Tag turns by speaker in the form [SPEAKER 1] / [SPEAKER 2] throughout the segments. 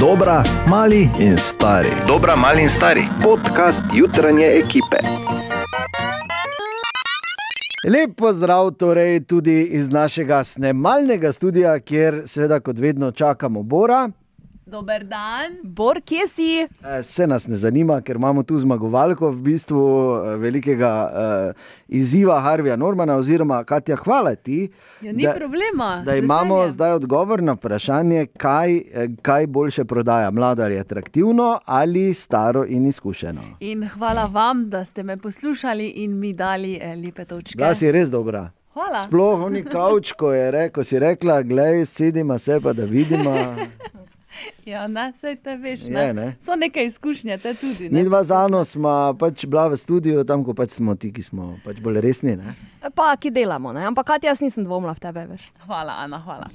[SPEAKER 1] Dobra, mali in stari.
[SPEAKER 2] Dobra, mali in stari.
[SPEAKER 1] Podcast jutranje ekipe.
[SPEAKER 3] Lep pozdrav torej tudi iz našega snemalnega studia, kjer seveda kot vedno čakamo Bora.
[SPEAKER 4] Dober dan, Bor, kje si?
[SPEAKER 3] Eh, Vse nas ne zanima, ker imamo tu zmagovalko v bistvu eh, velikega eh, izziva Harvija Normana oziroma Katja, hvala ti.
[SPEAKER 4] Ja, ni problema,
[SPEAKER 3] Da
[SPEAKER 4] z
[SPEAKER 3] imamo
[SPEAKER 4] veseljem.
[SPEAKER 3] zdaj odgovor na vprašanje, kaj, eh, kaj boljše prodaja. Mladar je atraktivno ali staro in izkušeno.
[SPEAKER 4] In hvala vam, da ste me poslušali in mi dali eh, lepe točke.
[SPEAKER 3] Glas je res dobra.
[SPEAKER 4] Hvala.
[SPEAKER 3] Sploh oni kavč, ko, je re, ko si rekla, gledaj, sedima se pa da vidima.
[SPEAKER 4] Ja, ne, sej te veš. Ne?
[SPEAKER 3] Je, ne.
[SPEAKER 4] So neke izkušnje, te tudi.
[SPEAKER 3] Mi
[SPEAKER 4] Ne?
[SPEAKER 3] dva z Ano smo pač bila v studiu, tam ko pač smo ti, ki smo pač bolj resni. Ne?
[SPEAKER 5] Pa ki delamo, ne? ampak Katja, jaz nisem dvomila v tebe. Veš.
[SPEAKER 4] Hvala, Ana, hvala.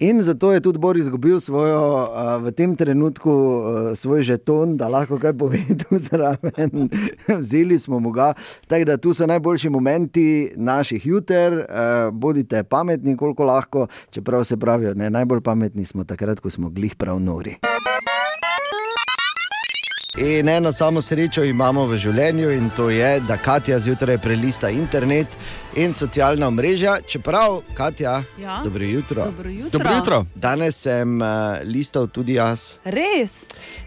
[SPEAKER 3] In zato je tudi Boris izgubil svojo, a, v tem trenutku a, svoj žeton, da lahko kaj pove tu zraven. Vzeli smo mu ga. Tako da tu so najboljši momenti naših juter, a, bodite pametni, koliko lahko, čeprav se pravijo, ne, najbolj pametni smo takrat, ko smo glih prav nori. In eno samo srečo imamo v življenju, in to je, da Katja zjutraj prelista internet in socialna omrežja, čeprav Katja,
[SPEAKER 4] Ja.
[SPEAKER 3] dobro jutro.
[SPEAKER 4] Dobro jutro.
[SPEAKER 6] Dobro jutro.
[SPEAKER 3] Danes sem uh, listal tudi jaz
[SPEAKER 4] Res,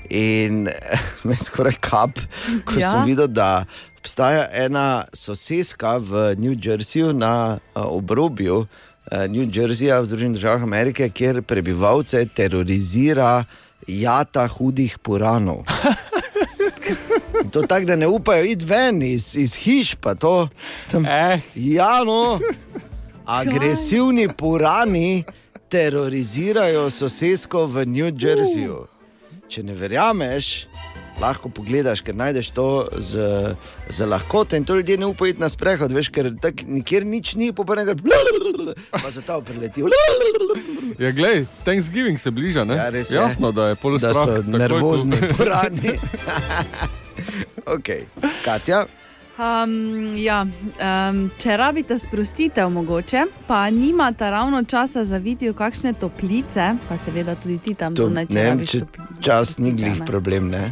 [SPEAKER 3] in me skoraj kap, ko ja.
[SPEAKER 4] Ja.
[SPEAKER 3] sem videl, da obstaja ena soseska v New Jerseyju na uh, obrobju. eh, New Jerseyja v Združenih državah Amerike, kjer prebivalce terorizira jata hudih puranov. In To tako, da ne upajo iti ven iz, iz hiš, pa to. Tam,
[SPEAKER 6] Eh,
[SPEAKER 3] Ja, no, agresivni purani terorizirajo sosesko v New Jerseyju. Če ne verjameš, lahko pogledaš, ker najdeš to z, z lahkoto in to ljudje ne upajo iti na sprehod, veš, ker tako nikjer nič ni, poprnega, pa se ta preleti.
[SPEAKER 6] ja, glej, Thanksgiving se bliža, ne?
[SPEAKER 3] Ja, res je.
[SPEAKER 6] Jasno, da je pol
[SPEAKER 3] Da
[SPEAKER 6] strah.
[SPEAKER 3] so
[SPEAKER 6] takoj, ko-
[SPEAKER 3] nervozni purani. ok, Katja,
[SPEAKER 7] Um, ja, um, če rabite sprostitev, mogoče, pa nimate ravno časa za video, kakšne toplice, pa seveda tudi ti tam
[SPEAKER 3] to,
[SPEAKER 7] zunaj.
[SPEAKER 3] ne
[SPEAKER 7] če
[SPEAKER 3] vem,
[SPEAKER 7] rabiš
[SPEAKER 3] če
[SPEAKER 7] topli-
[SPEAKER 3] čas ni
[SPEAKER 7] sprostitev,
[SPEAKER 3] glih
[SPEAKER 7] ne.
[SPEAKER 3] problem, ne?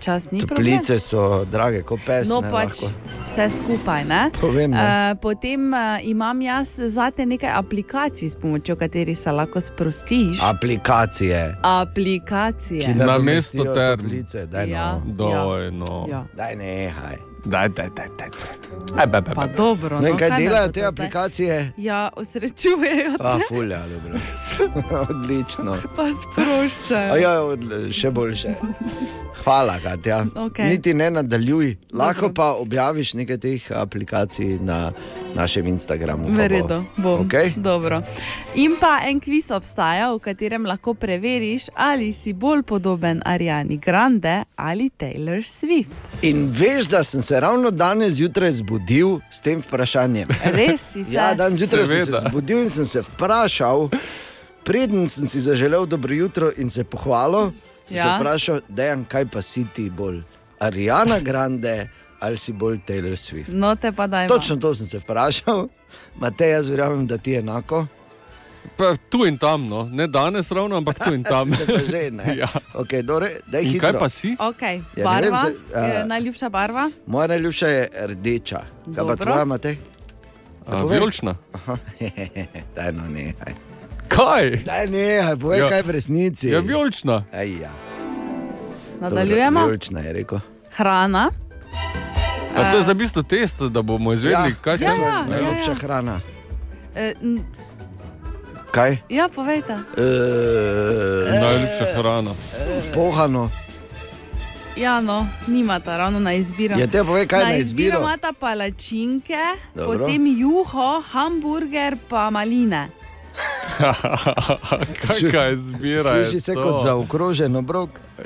[SPEAKER 7] Čas ni problem.
[SPEAKER 3] Toplice so drage, kot pes.
[SPEAKER 7] No,
[SPEAKER 3] ne,
[SPEAKER 7] pač
[SPEAKER 3] lahko.
[SPEAKER 7] vse skupaj. Ne?
[SPEAKER 3] Povem, ne.
[SPEAKER 7] Eh, potem uh, imam jaz zate nekaj aplikacij, s pomočjo katerih se lahko sprostiš.
[SPEAKER 3] Aplikacije.
[SPEAKER 7] aplikacije.
[SPEAKER 6] ne-
[SPEAKER 3] nadomestijo
[SPEAKER 6] mesto term.
[SPEAKER 3] toplice, Daj, no.
[SPEAKER 7] Ja.
[SPEAKER 6] Doj, no.
[SPEAKER 7] Ja.
[SPEAKER 3] Daj, nehaj.
[SPEAKER 6] Daj, daj, daj. daj. Aj, ba, ba,
[SPEAKER 7] Pa
[SPEAKER 6] ba.
[SPEAKER 7] dobro.
[SPEAKER 3] No, in
[SPEAKER 7] no,
[SPEAKER 3] kaj
[SPEAKER 7] me
[SPEAKER 3] delajo
[SPEAKER 7] bo to
[SPEAKER 3] te
[SPEAKER 7] zdaj?
[SPEAKER 3] aplikacije?
[SPEAKER 7] Ja, osrečujejo,
[SPEAKER 3] A, fulja, dobro. Odlično.
[SPEAKER 7] pa sproščajo.
[SPEAKER 3] A Ja, odl- še boljše. Hvala, Katja.
[SPEAKER 7] Okej.
[SPEAKER 3] Niti ne nadaljuj. Lahko pa objaviš nekaj teh aplikacij na našem Instagramu. pa bo.
[SPEAKER 7] Verjetno bom.
[SPEAKER 3] Okej?
[SPEAKER 7] Dobro. In pa en kviz obstaja, v katerem lahko preveriš, ali si bolj podoben Ariani Grande ali Taylor Swift.
[SPEAKER 3] In veš, da sem se ravno danes zjutraj zbudil s tem vprašanjem.
[SPEAKER 7] Res si se.
[SPEAKER 3] Ja, danes zjutraj sem se
[SPEAKER 6] Seveda.
[SPEAKER 3] zbudil in sem se vprašal, preden sem si zaželel dobro jutro in se pohvalil, sem ja.
[SPEAKER 7] Ja.
[SPEAKER 3] se vprašal, dejan, kaj pa si ti bolj, Ariana Grande ali si bolj Taylor Swift.
[SPEAKER 7] No, te pa daj.
[SPEAKER 3] Točno to sem se vprašal, Matej, jaz verjamem, da ti je enako.
[SPEAKER 6] Pa Tu in tam, no. Ne danes ravno, ampak tu in tam.
[SPEAKER 3] Se pa že ne.
[SPEAKER 6] Ja.
[SPEAKER 3] okay, dore, daj,
[SPEAKER 6] In
[SPEAKER 3] hitro.
[SPEAKER 6] kaj pa si?
[SPEAKER 7] Okay,
[SPEAKER 3] Ja, ne
[SPEAKER 7] barva,
[SPEAKER 3] vem, zdaj, a-
[SPEAKER 7] eh, najljubša barva.
[SPEAKER 3] Moja najljubša je rdeča, kaj pa
[SPEAKER 7] Dobro.
[SPEAKER 3] tvoja, Matej?
[SPEAKER 6] A,
[SPEAKER 3] povej.
[SPEAKER 6] Vijolična.
[SPEAKER 3] Daj, no, nehaj.
[SPEAKER 6] Kaj?
[SPEAKER 3] Daj, nehaj, povej, ja.
[SPEAKER 6] Ja.
[SPEAKER 3] kaj v resnici.
[SPEAKER 6] Ja, vijolična.
[SPEAKER 3] Aj, ja. Dobro,
[SPEAKER 7] Nadaljujemo.
[SPEAKER 3] Vijolična je rekel.
[SPEAKER 7] Hrana.
[SPEAKER 6] A to je za bistvo test, da bomo izvedeli, kaj se
[SPEAKER 3] ja,
[SPEAKER 7] ja,
[SPEAKER 3] ja,
[SPEAKER 7] ja, ja.
[SPEAKER 3] najlepša hrana.
[SPEAKER 7] Eh, n-
[SPEAKER 3] Kaj?
[SPEAKER 7] ja, povejte.
[SPEAKER 3] E,
[SPEAKER 6] Najlepša hrana.
[SPEAKER 3] pohano.
[SPEAKER 7] Ja, no, nimata ravno na izbiro.
[SPEAKER 3] Je Ja, te pove, kaj
[SPEAKER 7] na
[SPEAKER 3] na
[SPEAKER 7] izbiro
[SPEAKER 3] izbiro?
[SPEAKER 7] imata palačinke,
[SPEAKER 3] Dobro.
[SPEAKER 7] potem juho, hamburger, pa maline.
[SPEAKER 6] Kakšna izbira je
[SPEAKER 3] Sliši se
[SPEAKER 6] to?
[SPEAKER 3] kot zaokrožen obrok.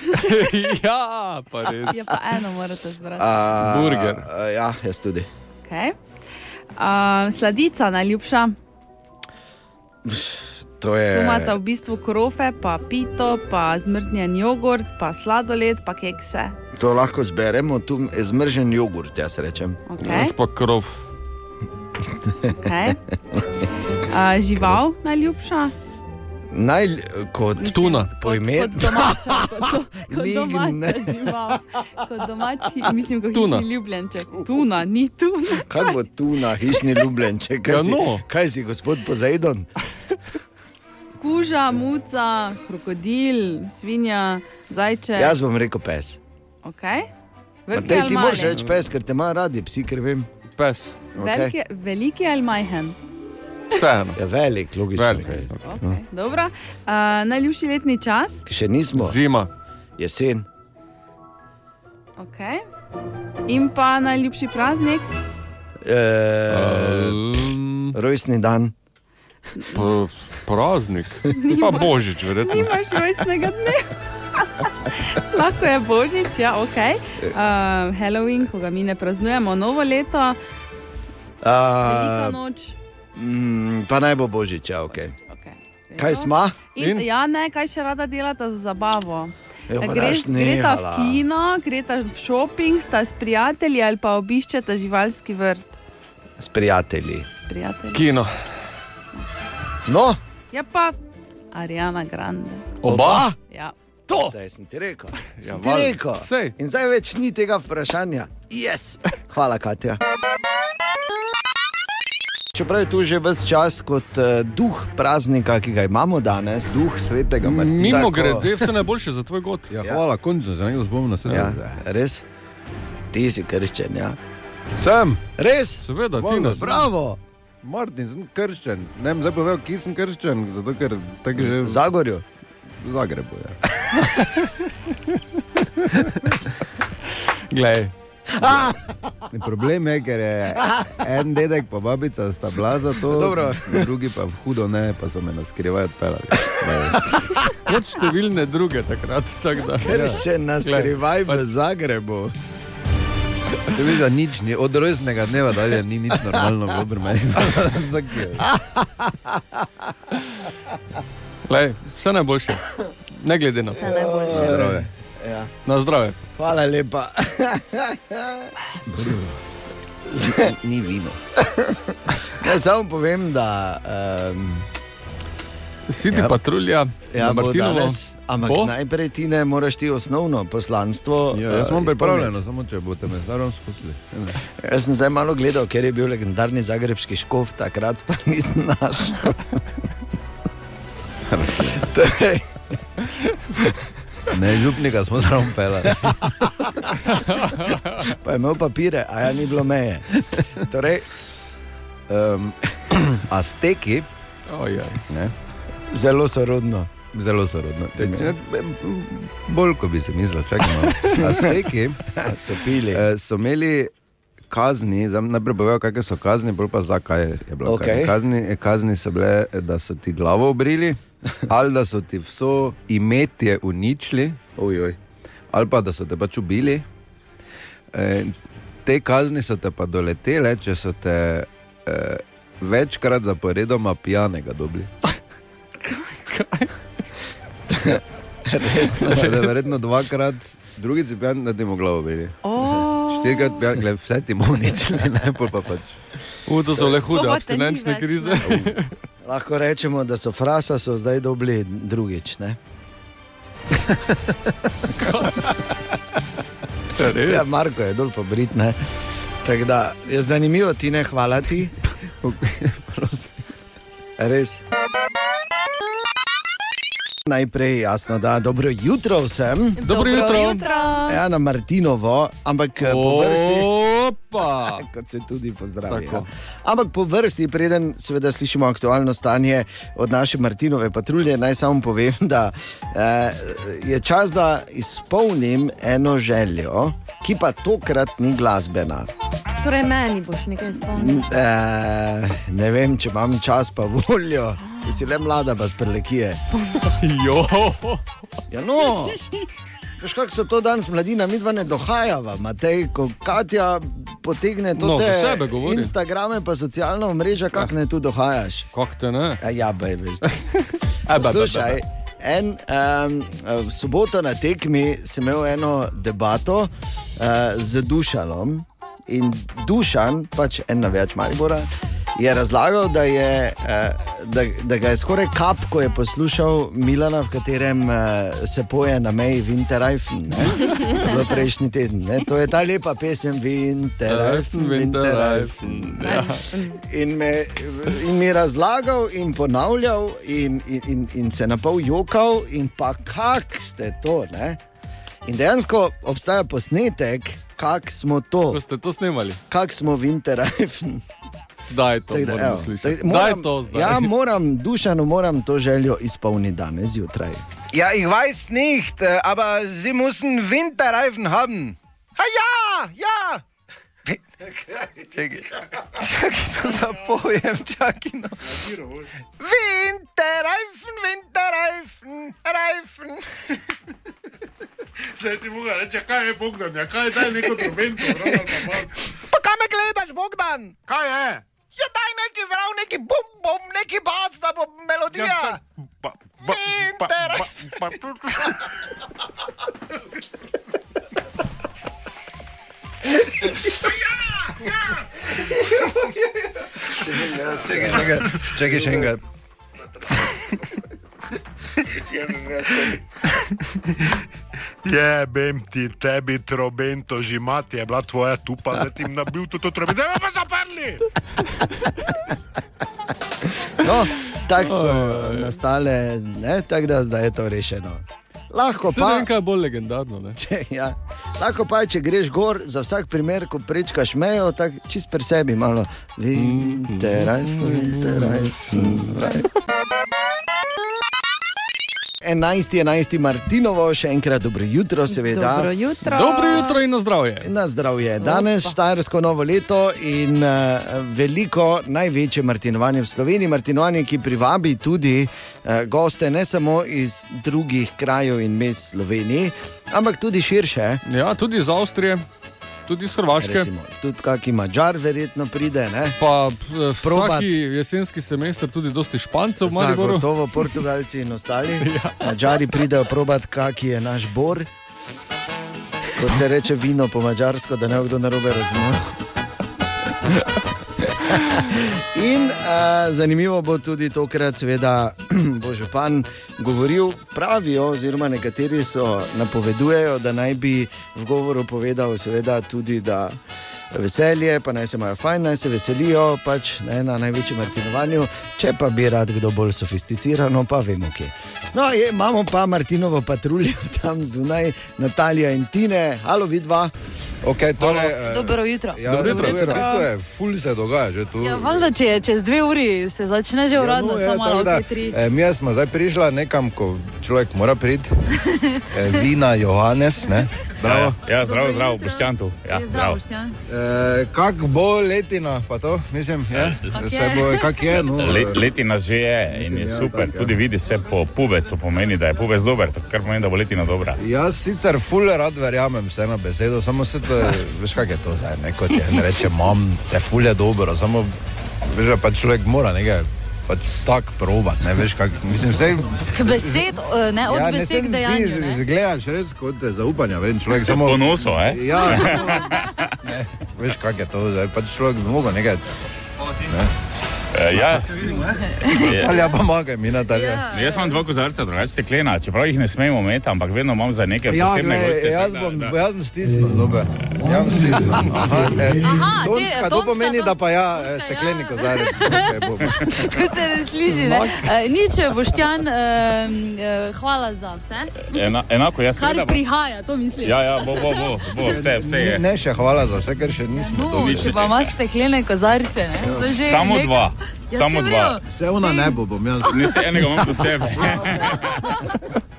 [SPEAKER 6] ja, pa res.
[SPEAKER 7] Je pa eno, morate zbrati.
[SPEAKER 3] A,
[SPEAKER 6] Burger.
[SPEAKER 3] A, ja, jaz tudi.
[SPEAKER 7] Okay. Uh, sladica najljubša,
[SPEAKER 3] To je.
[SPEAKER 7] tu imata v bistvu krofe, pa pito, pa zmrznjen jogurt, pa sladoled, pa kekse.
[SPEAKER 3] To lahko zberemo, tu je zmrzen jogurt, jaz rečem.
[SPEAKER 7] Okay,
[SPEAKER 6] Jaz pa krov.
[SPEAKER 7] okay. Uh, žival najljubša,
[SPEAKER 3] Naj, kot
[SPEAKER 7] Mislim,
[SPEAKER 6] Tuna.
[SPEAKER 7] Kot,
[SPEAKER 3] Poimen-
[SPEAKER 7] kot domača, kot, do, kot
[SPEAKER 3] Ligne.
[SPEAKER 7] domača žival. Kot domači, mislim, kot
[SPEAKER 6] Tuna.
[SPEAKER 7] hišni ljubljenček. Tuna, ni tuna.
[SPEAKER 3] Kaj bo tu na hišni ljubljenče? Kaj,
[SPEAKER 6] Ja,
[SPEAKER 3] si-
[SPEAKER 6] no.
[SPEAKER 3] kaj si, gospod Pozajdon?
[SPEAKER 7] Kuža, muca, krokodil, svinja, zajče.
[SPEAKER 3] Jaz bom rekel pes.
[SPEAKER 7] Okay. Veliki
[SPEAKER 3] Matej,
[SPEAKER 7] ali
[SPEAKER 3] ti moraš
[SPEAKER 7] majhen?
[SPEAKER 3] reči pes, ker te ima radi, psi, ker vem.
[SPEAKER 6] Pes,
[SPEAKER 3] Okay.
[SPEAKER 7] Veliki- Veliki ali majhen?
[SPEAKER 6] vseeno.
[SPEAKER 3] Ja, velik, logično.
[SPEAKER 6] Velik.
[SPEAKER 3] Velik.
[SPEAKER 7] Okay.
[SPEAKER 3] Mhm.
[SPEAKER 7] Dobro. Uh, najljubši letni čas?
[SPEAKER 3] Še nismo,
[SPEAKER 6] Zima,
[SPEAKER 3] jesen,
[SPEAKER 7] Okay. In pa najljubši praznik?
[SPEAKER 3] e,
[SPEAKER 6] Ehm,
[SPEAKER 3] rojstni dan.
[SPEAKER 6] p- praznik, pa božič, verjetno.
[SPEAKER 7] Nimaš rojstnega dne. Lahko je božič, ja, ok. Uh, Halloween, ko ga mi ne praznujemo, novo leto, velika
[SPEAKER 3] A,
[SPEAKER 7] noč.
[SPEAKER 3] mm, pa naj bo božič, ja, ok.
[SPEAKER 7] Okay.
[SPEAKER 3] Kaj smo?
[SPEAKER 7] In,
[SPEAKER 6] In?
[SPEAKER 7] ja, ne, kaj še rada delata za zabavo.
[SPEAKER 3] Jo, pa
[SPEAKER 7] Gre-
[SPEAKER 3] daš
[SPEAKER 7] Gresta v
[SPEAKER 3] nehala.
[SPEAKER 7] kino, gresta v šoping, sta s prijatelji ali pa obiščeta živalski vrt
[SPEAKER 3] S prijatelji.
[SPEAKER 7] s prijatelji.
[SPEAKER 6] Kino.
[SPEAKER 3] No,
[SPEAKER 7] Ja, pa Ariana Grande.
[SPEAKER 6] Oba?
[SPEAKER 7] Ja.
[SPEAKER 6] To!
[SPEAKER 3] Zdaj sem ti rekel. Sem
[SPEAKER 6] Ja,
[SPEAKER 3] ti
[SPEAKER 6] val-
[SPEAKER 3] rekel.
[SPEAKER 6] Sej.
[SPEAKER 3] In zdaj več ni tega vprašanja. Yes. Hvala, Katja. Čeprav je tu že vse čas kot uh, duh praznika, ki ga imamo danes,
[SPEAKER 1] Duh svetega Martina.
[SPEAKER 6] Mimo
[SPEAKER 3] tako.
[SPEAKER 6] grede, vse najboljše za tvoj god.
[SPEAKER 2] Ja,
[SPEAKER 3] Ja.
[SPEAKER 2] Mm. hvala, končno se nekdo spomni na sebe.
[SPEAKER 3] ja, res, ti si krščen. Ja.
[SPEAKER 2] Sem,
[SPEAKER 3] Res,
[SPEAKER 6] Seveda, ti
[SPEAKER 2] Hvala,
[SPEAKER 6] ne.
[SPEAKER 3] bravo,
[SPEAKER 2] Martin, sem krščen. Ne vem, zdaj povedal, ki sem krščen, zato ker tako že
[SPEAKER 3] Z- Zagorju.
[SPEAKER 2] v Zagrebu ja. je.
[SPEAKER 6] Glej.
[SPEAKER 2] In Problem je, ker je en dedek pa babica sta bila za to,
[SPEAKER 3] Dobro.
[SPEAKER 2] drugi pa hudo ne, pa so me na skrivaj odpeljali.
[SPEAKER 6] Kot številne druge takrat. Tak da, ja.
[SPEAKER 3] Krščen nas
[SPEAKER 6] Glej,
[SPEAKER 3] skrivaj v Zagrebu.
[SPEAKER 2] Te vidiš, da nič ni, od rojstnega dneva dalje ni nič normalno, dobro meni.
[SPEAKER 6] Glej, vse najboljše. Ne glede na to.
[SPEAKER 2] Zdravje.
[SPEAKER 6] Na zdravje.
[SPEAKER 3] Hvala lepa. Ni vino. Jaz samo povem, da um,
[SPEAKER 6] Siti
[SPEAKER 2] Ja.
[SPEAKER 6] patrulja,
[SPEAKER 3] ja,
[SPEAKER 6] na
[SPEAKER 3] bo
[SPEAKER 6] Martinovo.
[SPEAKER 3] danes, ampak
[SPEAKER 6] Bo?
[SPEAKER 3] bo? najprej ti ne moraš ti osnovno poslanstvo.
[SPEAKER 2] Ja, jaz
[SPEAKER 3] eh,
[SPEAKER 2] sem
[SPEAKER 3] izpolniti.
[SPEAKER 2] pripravljen, samo če boste me starom spustili.
[SPEAKER 3] Jaz sem zdaj malo gledal, ker je bil legendarni zagrebski škof, takrat pa nisem našel. torej,
[SPEAKER 2] Ne, župnika smo starom pelali.
[SPEAKER 3] pa je imel papire, a ja ni bilo meje. Torej,
[SPEAKER 2] Um, Azteki,
[SPEAKER 6] Ojej.
[SPEAKER 2] ne?
[SPEAKER 3] zelo sorodno.
[SPEAKER 2] Zelo sorodno.
[SPEAKER 3] To je mi.
[SPEAKER 2] Ja, Bolj kot bi se mislil, čakaj malo. Azteki
[SPEAKER 3] So pili.
[SPEAKER 2] eh, so imeli kazni, zdaj bom najprej povedal, kakšne so kazni, bolj pa zakaj je bilo.
[SPEAKER 3] Okej.
[SPEAKER 2] kaj. Kazni, eh, kazni so bile, eh, da so ti glavo obrili, ali da so ti vso imetje uničili, ojoj, ali pa da so te pač ubili. Eh, Te kazni so te pa doletele, če so te eh, večkrat zaporedoma pijanega dobili.
[SPEAKER 3] Resno.
[SPEAKER 2] Tako da Verjetno dvakrat, drugi si pijan, da ti mu glavo bili.
[SPEAKER 7] Oh.
[SPEAKER 2] Štirikrat pijan, gled, vse ti mu uničili, ne pol pa pač.
[SPEAKER 6] U, to so le hude
[SPEAKER 7] To pa te ni
[SPEAKER 6] abstinenčne
[SPEAKER 7] več,
[SPEAKER 6] krize.
[SPEAKER 3] Lahko rečemo, da so frasa so zdaj dobili drugič. Ne?
[SPEAKER 6] Res?
[SPEAKER 3] Ja, Marko je dol po Brit. ne. Tako da je zanimivo, ti ne hvala ti. Res. Najprej jasno, da dobro jutro vsem.
[SPEAKER 6] Dobro jutro.
[SPEAKER 3] Ja, na Martinovo, ampak eh, po vrsti.
[SPEAKER 6] Opa!
[SPEAKER 3] Kot se tudi pozdravi.
[SPEAKER 6] Tako.
[SPEAKER 3] Ja. Ampak po vrsti, preden seveda slišimo aktualno stanje od naše Martinove patrulje, naj samo povem, da eh, je čas, da izpolnim eno željo, ki pa tokrat ni glasbena.
[SPEAKER 5] Torej, meni boš nekaj
[SPEAKER 3] Mm,
[SPEAKER 5] spomnil.
[SPEAKER 3] Eh, ne vem, če imam čas, pa voljo, Ti si le mlada, pa sprelekije.
[SPEAKER 6] Jo!
[SPEAKER 3] Ja, no. Veš, kako so to danes mladina, mi dva ne dohajava, Matej, ko Katja potegne to
[SPEAKER 6] No,
[SPEAKER 3] te
[SPEAKER 6] za sebe govori. Ja.
[SPEAKER 3] Instagrame, pa socialna omrežja, kako ne tu dohajaš.
[SPEAKER 6] Kak te ne?
[SPEAKER 3] Ja, ja bej, veš.
[SPEAKER 6] E, be, be, be,
[SPEAKER 3] Poslušaj,
[SPEAKER 6] be.
[SPEAKER 3] en, um, v soboto na tekmi sem imel eno debato eh, uh, z Dušanom in Dušan, pač en navijač Maribora, je razlagal, da, je, eh, da, da ga je skoraj kap, ko je poslušal Milana, v katerem eh, se poje na meji Winterreifen. ne. To je bilo Prejšnji teden. Ne? To je ta lepa pesem Winterreifen. Winterreifen ne.
[SPEAKER 6] ja.
[SPEAKER 3] in, me, in mi je razlagal in ponavljal, in, in, in, in se na pol jokal, in pa kak ste to. Ne? In dejansko obstaja posnetek, kak smo to,
[SPEAKER 6] Ko ste to snimali,
[SPEAKER 3] kak smo Winterreifen.
[SPEAKER 6] daj to,
[SPEAKER 3] Tako da,
[SPEAKER 6] moramo
[SPEAKER 3] evo,
[SPEAKER 6] slišati.
[SPEAKER 3] tako da moram-
[SPEAKER 6] Daj to zdaj.
[SPEAKER 3] Ja, moram, dušano moram to željo izpolniti danes zjutraj.
[SPEAKER 8] Ja, ich weiß nicht, äh, aber Sie müssen Winterreifen haben. Ha, ja, ja! Čakaj, čakaj, to zapojem, čakaj. No. Winterreifen, Winterreifen, Reifen.
[SPEAKER 9] Zdaj ti moram reči, kaj je Bogdan, ja, kaj je daj neko trobento, ravno na vas.
[SPEAKER 8] Pa kam me gledaš, Bogdan?
[SPEAKER 9] Kaj je?
[SPEAKER 8] Ja, daj neki zdrav, neki bum, bum, neki bac, da bo melodija. Ja,
[SPEAKER 9] Ba, ba, ba, ba, ba, ba.
[SPEAKER 2] Čakaj še enkrat.
[SPEAKER 9] Jebem ti, tebi trobento že mati, je bila tvoja tupa, zdaj ti jim nabil to trobento, zdaj me pa zaprli!
[SPEAKER 3] No, tako so nastale, ne, tako da zdaj je to rešeno. Lahko
[SPEAKER 6] Se ne
[SPEAKER 3] pa.
[SPEAKER 6] vem, kaj je bolj legendarno. Ne?
[SPEAKER 3] Če, ja. Lahko pa je, če greš gor, za vsak primer, ko prečkaš mejo, tako čist pri sebi malo. Winterreifen, Winterreifen, Reifen. 11. 11. Martinovo, še enkrat dobro jutro, seveda.
[SPEAKER 7] Dobro jutro.
[SPEAKER 6] Dobro jutro in na zdravje.
[SPEAKER 3] Na zdravje. Danes je štajersko novo leto in uh, veliko, največje martinovanje v Sloveniji, martinovanje, ki privabi tudi uh, goste ne samo iz drugih krajev in mest Slovenije, ampak tudi širše.
[SPEAKER 6] Ja, tudi iz Avstrije, tudi iz Hrvaške.
[SPEAKER 3] Ja, Recimo, tudi kakšen mačar, verjetno pride. Ne?
[SPEAKER 6] Pa p-
[SPEAKER 3] Probat.
[SPEAKER 6] vsaki jesenski semester tudi dosti špancev v Mariboru.
[SPEAKER 3] Zagotovo Portugalci in ostali. ja. Mačari pridejo probat, kaki je naš bor. Kot se reče vino po mačarsko, da ne bo kdo narobe razumel. In uh, zanimivo bo tudi tokrat, seveda, bo župan govoril, pravijo, oziroma nekateri so napovedujejo, da naj bi v govoru povedal, seveda, tudi da veselje, pa naj se imajo fajn, naj se veselijo, pač ne, na največjem Martinovanju, če pa bi rad kdo bolj sofisticiran, pa vemo, kje. No, je, imamo pa Martinovo patruljo tam zunaj, Natalija in Tine, halo vidva.
[SPEAKER 2] Okay, torej,
[SPEAKER 10] Dobro jutro.
[SPEAKER 2] Ja,
[SPEAKER 6] Dobro jutro.
[SPEAKER 2] V bistvu je, ful se dogaja že tu.
[SPEAKER 10] Ja, valjda, če je čez dve uri, se začne že uradno,
[SPEAKER 2] ja,
[SPEAKER 10] samo malo
[SPEAKER 2] tako
[SPEAKER 10] okoli tri.
[SPEAKER 2] eh, Mi smo zdaj prišla nekam, ko človek mora priti. Eh, Vina Johannes, ne? Bravo.
[SPEAKER 9] Ja,
[SPEAKER 10] zdravo, zdravo, Boštjan
[SPEAKER 9] tu.
[SPEAKER 10] Je Ja, zdravo, Boštjan.
[SPEAKER 2] Eh, kak bo letina, pa to, mislim, je? Se bo, kak je, no.
[SPEAKER 9] Le, letina že je in
[SPEAKER 2] Mislim,
[SPEAKER 9] je
[SPEAKER 2] ja,
[SPEAKER 9] super,
[SPEAKER 2] tako, ja.
[SPEAKER 9] tudi vidi se po pubecu, pomeni, da je pubec dober, tako kar pomeni, da bo letina dobra.
[SPEAKER 2] Jaz sicer ful rad verjamem vse na besedo, samo se to, veš kak je to zdaj, ne, kot je, ne reče, imam, se ful je dobro, samo, veš, da pač človek mora nekaj, pač tak probat, ne, veš kak, mislim, vse,
[SPEAKER 10] K besed, eh, ne od
[SPEAKER 2] Ja, ne se
[SPEAKER 10] besed k
[SPEAKER 2] zdi,
[SPEAKER 10] dejanju.
[SPEAKER 2] z-
[SPEAKER 10] ne.
[SPEAKER 2] zgledaš res kot eh, zaupanja, vreden človek samo.
[SPEAKER 9] Ponoso, eh?
[SPEAKER 2] Ja, ne, veš, kak je to, zdaj pač človek bi mogel nekaj.
[SPEAKER 9] E, ja,
[SPEAKER 2] Ali ja, pomagaj mi, Natalija.
[SPEAKER 10] Ja.
[SPEAKER 9] jaz imam dva kozarca, drugače steklena, čeprav jih ne smemo imeti, ampak vedno imam za neke posebne
[SPEAKER 2] Ja, glej, eh,
[SPEAKER 9] goste.
[SPEAKER 2] jaz
[SPEAKER 9] tako
[SPEAKER 2] bom,
[SPEAKER 9] da-
[SPEAKER 2] jaz bom stisnil zobe. Jaz bom stisnil. Aha, eh,
[SPEAKER 10] Aha, te-
[SPEAKER 2] tonska, to
[SPEAKER 10] tonska,
[SPEAKER 2] pomeni,
[SPEAKER 10] to-
[SPEAKER 2] da pa ja, eh,
[SPEAKER 10] tonska,
[SPEAKER 2] stekleni
[SPEAKER 10] ja.
[SPEAKER 2] kozarec. Okay, bo-
[SPEAKER 10] Ko se ne sliši, ne. Eh, Nič, Boštjan, eh, eh, hvala za vse,
[SPEAKER 9] Ena, enako, jaz seveda
[SPEAKER 10] kar
[SPEAKER 9] bom.
[SPEAKER 10] prihaja, to mislim.
[SPEAKER 9] Ja, ja, bo, bo, bo, bo vse, vse je.
[SPEAKER 2] Ne, še hvala za vse, ker še nismo.
[SPEAKER 10] No,
[SPEAKER 9] nič
[SPEAKER 10] če
[SPEAKER 9] ne
[SPEAKER 10] pa imaš steklene kozarice, ne. to že je
[SPEAKER 9] Samo
[SPEAKER 10] nekaj.
[SPEAKER 9] dva,
[SPEAKER 10] Ja,
[SPEAKER 9] samo
[SPEAKER 10] saj
[SPEAKER 9] dva.
[SPEAKER 10] vem,
[SPEAKER 2] Vse ona
[SPEAKER 10] saj-
[SPEAKER 2] ne bo, bom jaz.
[SPEAKER 9] Ne, se enega imam za sebe.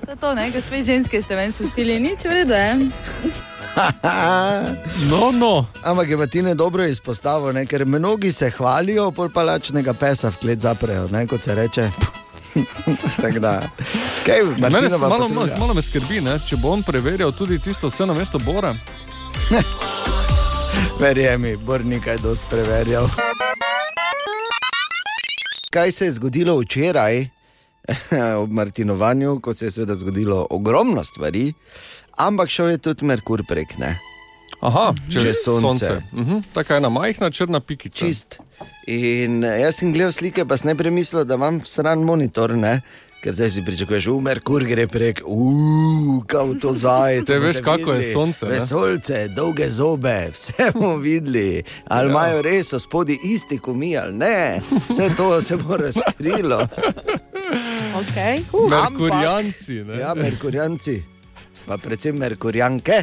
[SPEAKER 10] To je to, ne, gospe ženske ste meni spustili, nič eh. vrede.
[SPEAKER 6] No, no.
[SPEAKER 3] Ampak je pa ti ne dobro izpostavil, ne? ker mnogi se hvalijo, pol pa lačnega pesa v klet zaprejo, ne? kot se reče. Tako da, kaj,
[SPEAKER 6] Mene
[SPEAKER 3] Martinova
[SPEAKER 6] se
[SPEAKER 3] ja.
[SPEAKER 6] malo, malo,
[SPEAKER 3] patrulja?
[SPEAKER 6] malo me skrbi, ne? če bo on preverjal tudi tisto vse na mesto Bora.
[SPEAKER 3] Verjemi, bor nekaj dosti preverjal. Kaj se je zgodilo včeraj ob Martinovanju, ko se je seveda zgodilo ogromno stvari, ampak šel je tudi Merkur prek. Ne?
[SPEAKER 6] Aha, čez,
[SPEAKER 3] Čez
[SPEAKER 6] sonce.
[SPEAKER 3] sonce.
[SPEAKER 6] sonce. Mhm, Taka ena majhna črna pikica.
[SPEAKER 3] Čist. In eh, jaz sem gledal slike, pa sem najprej mislil, da imam stran monitor, ne? ker zdaj si pričakuješ, v Merkur gre prek, ukav to zajec.
[SPEAKER 6] Te
[SPEAKER 3] bomo
[SPEAKER 6] veš,
[SPEAKER 3] še
[SPEAKER 6] kako je
[SPEAKER 3] videli,
[SPEAKER 6] sonce, ne?
[SPEAKER 3] Vesolce, dolge zobe, vse bomo videli. Ali
[SPEAKER 6] Ja.
[SPEAKER 3] imajo res spodi isti komi ali ne, vse to se bo razkrilo.
[SPEAKER 7] Okay.
[SPEAKER 3] Uh,
[SPEAKER 6] Merkurjanci, ne?
[SPEAKER 3] Ampak, ja, merkurjanci, pa predvsem merkurjanke.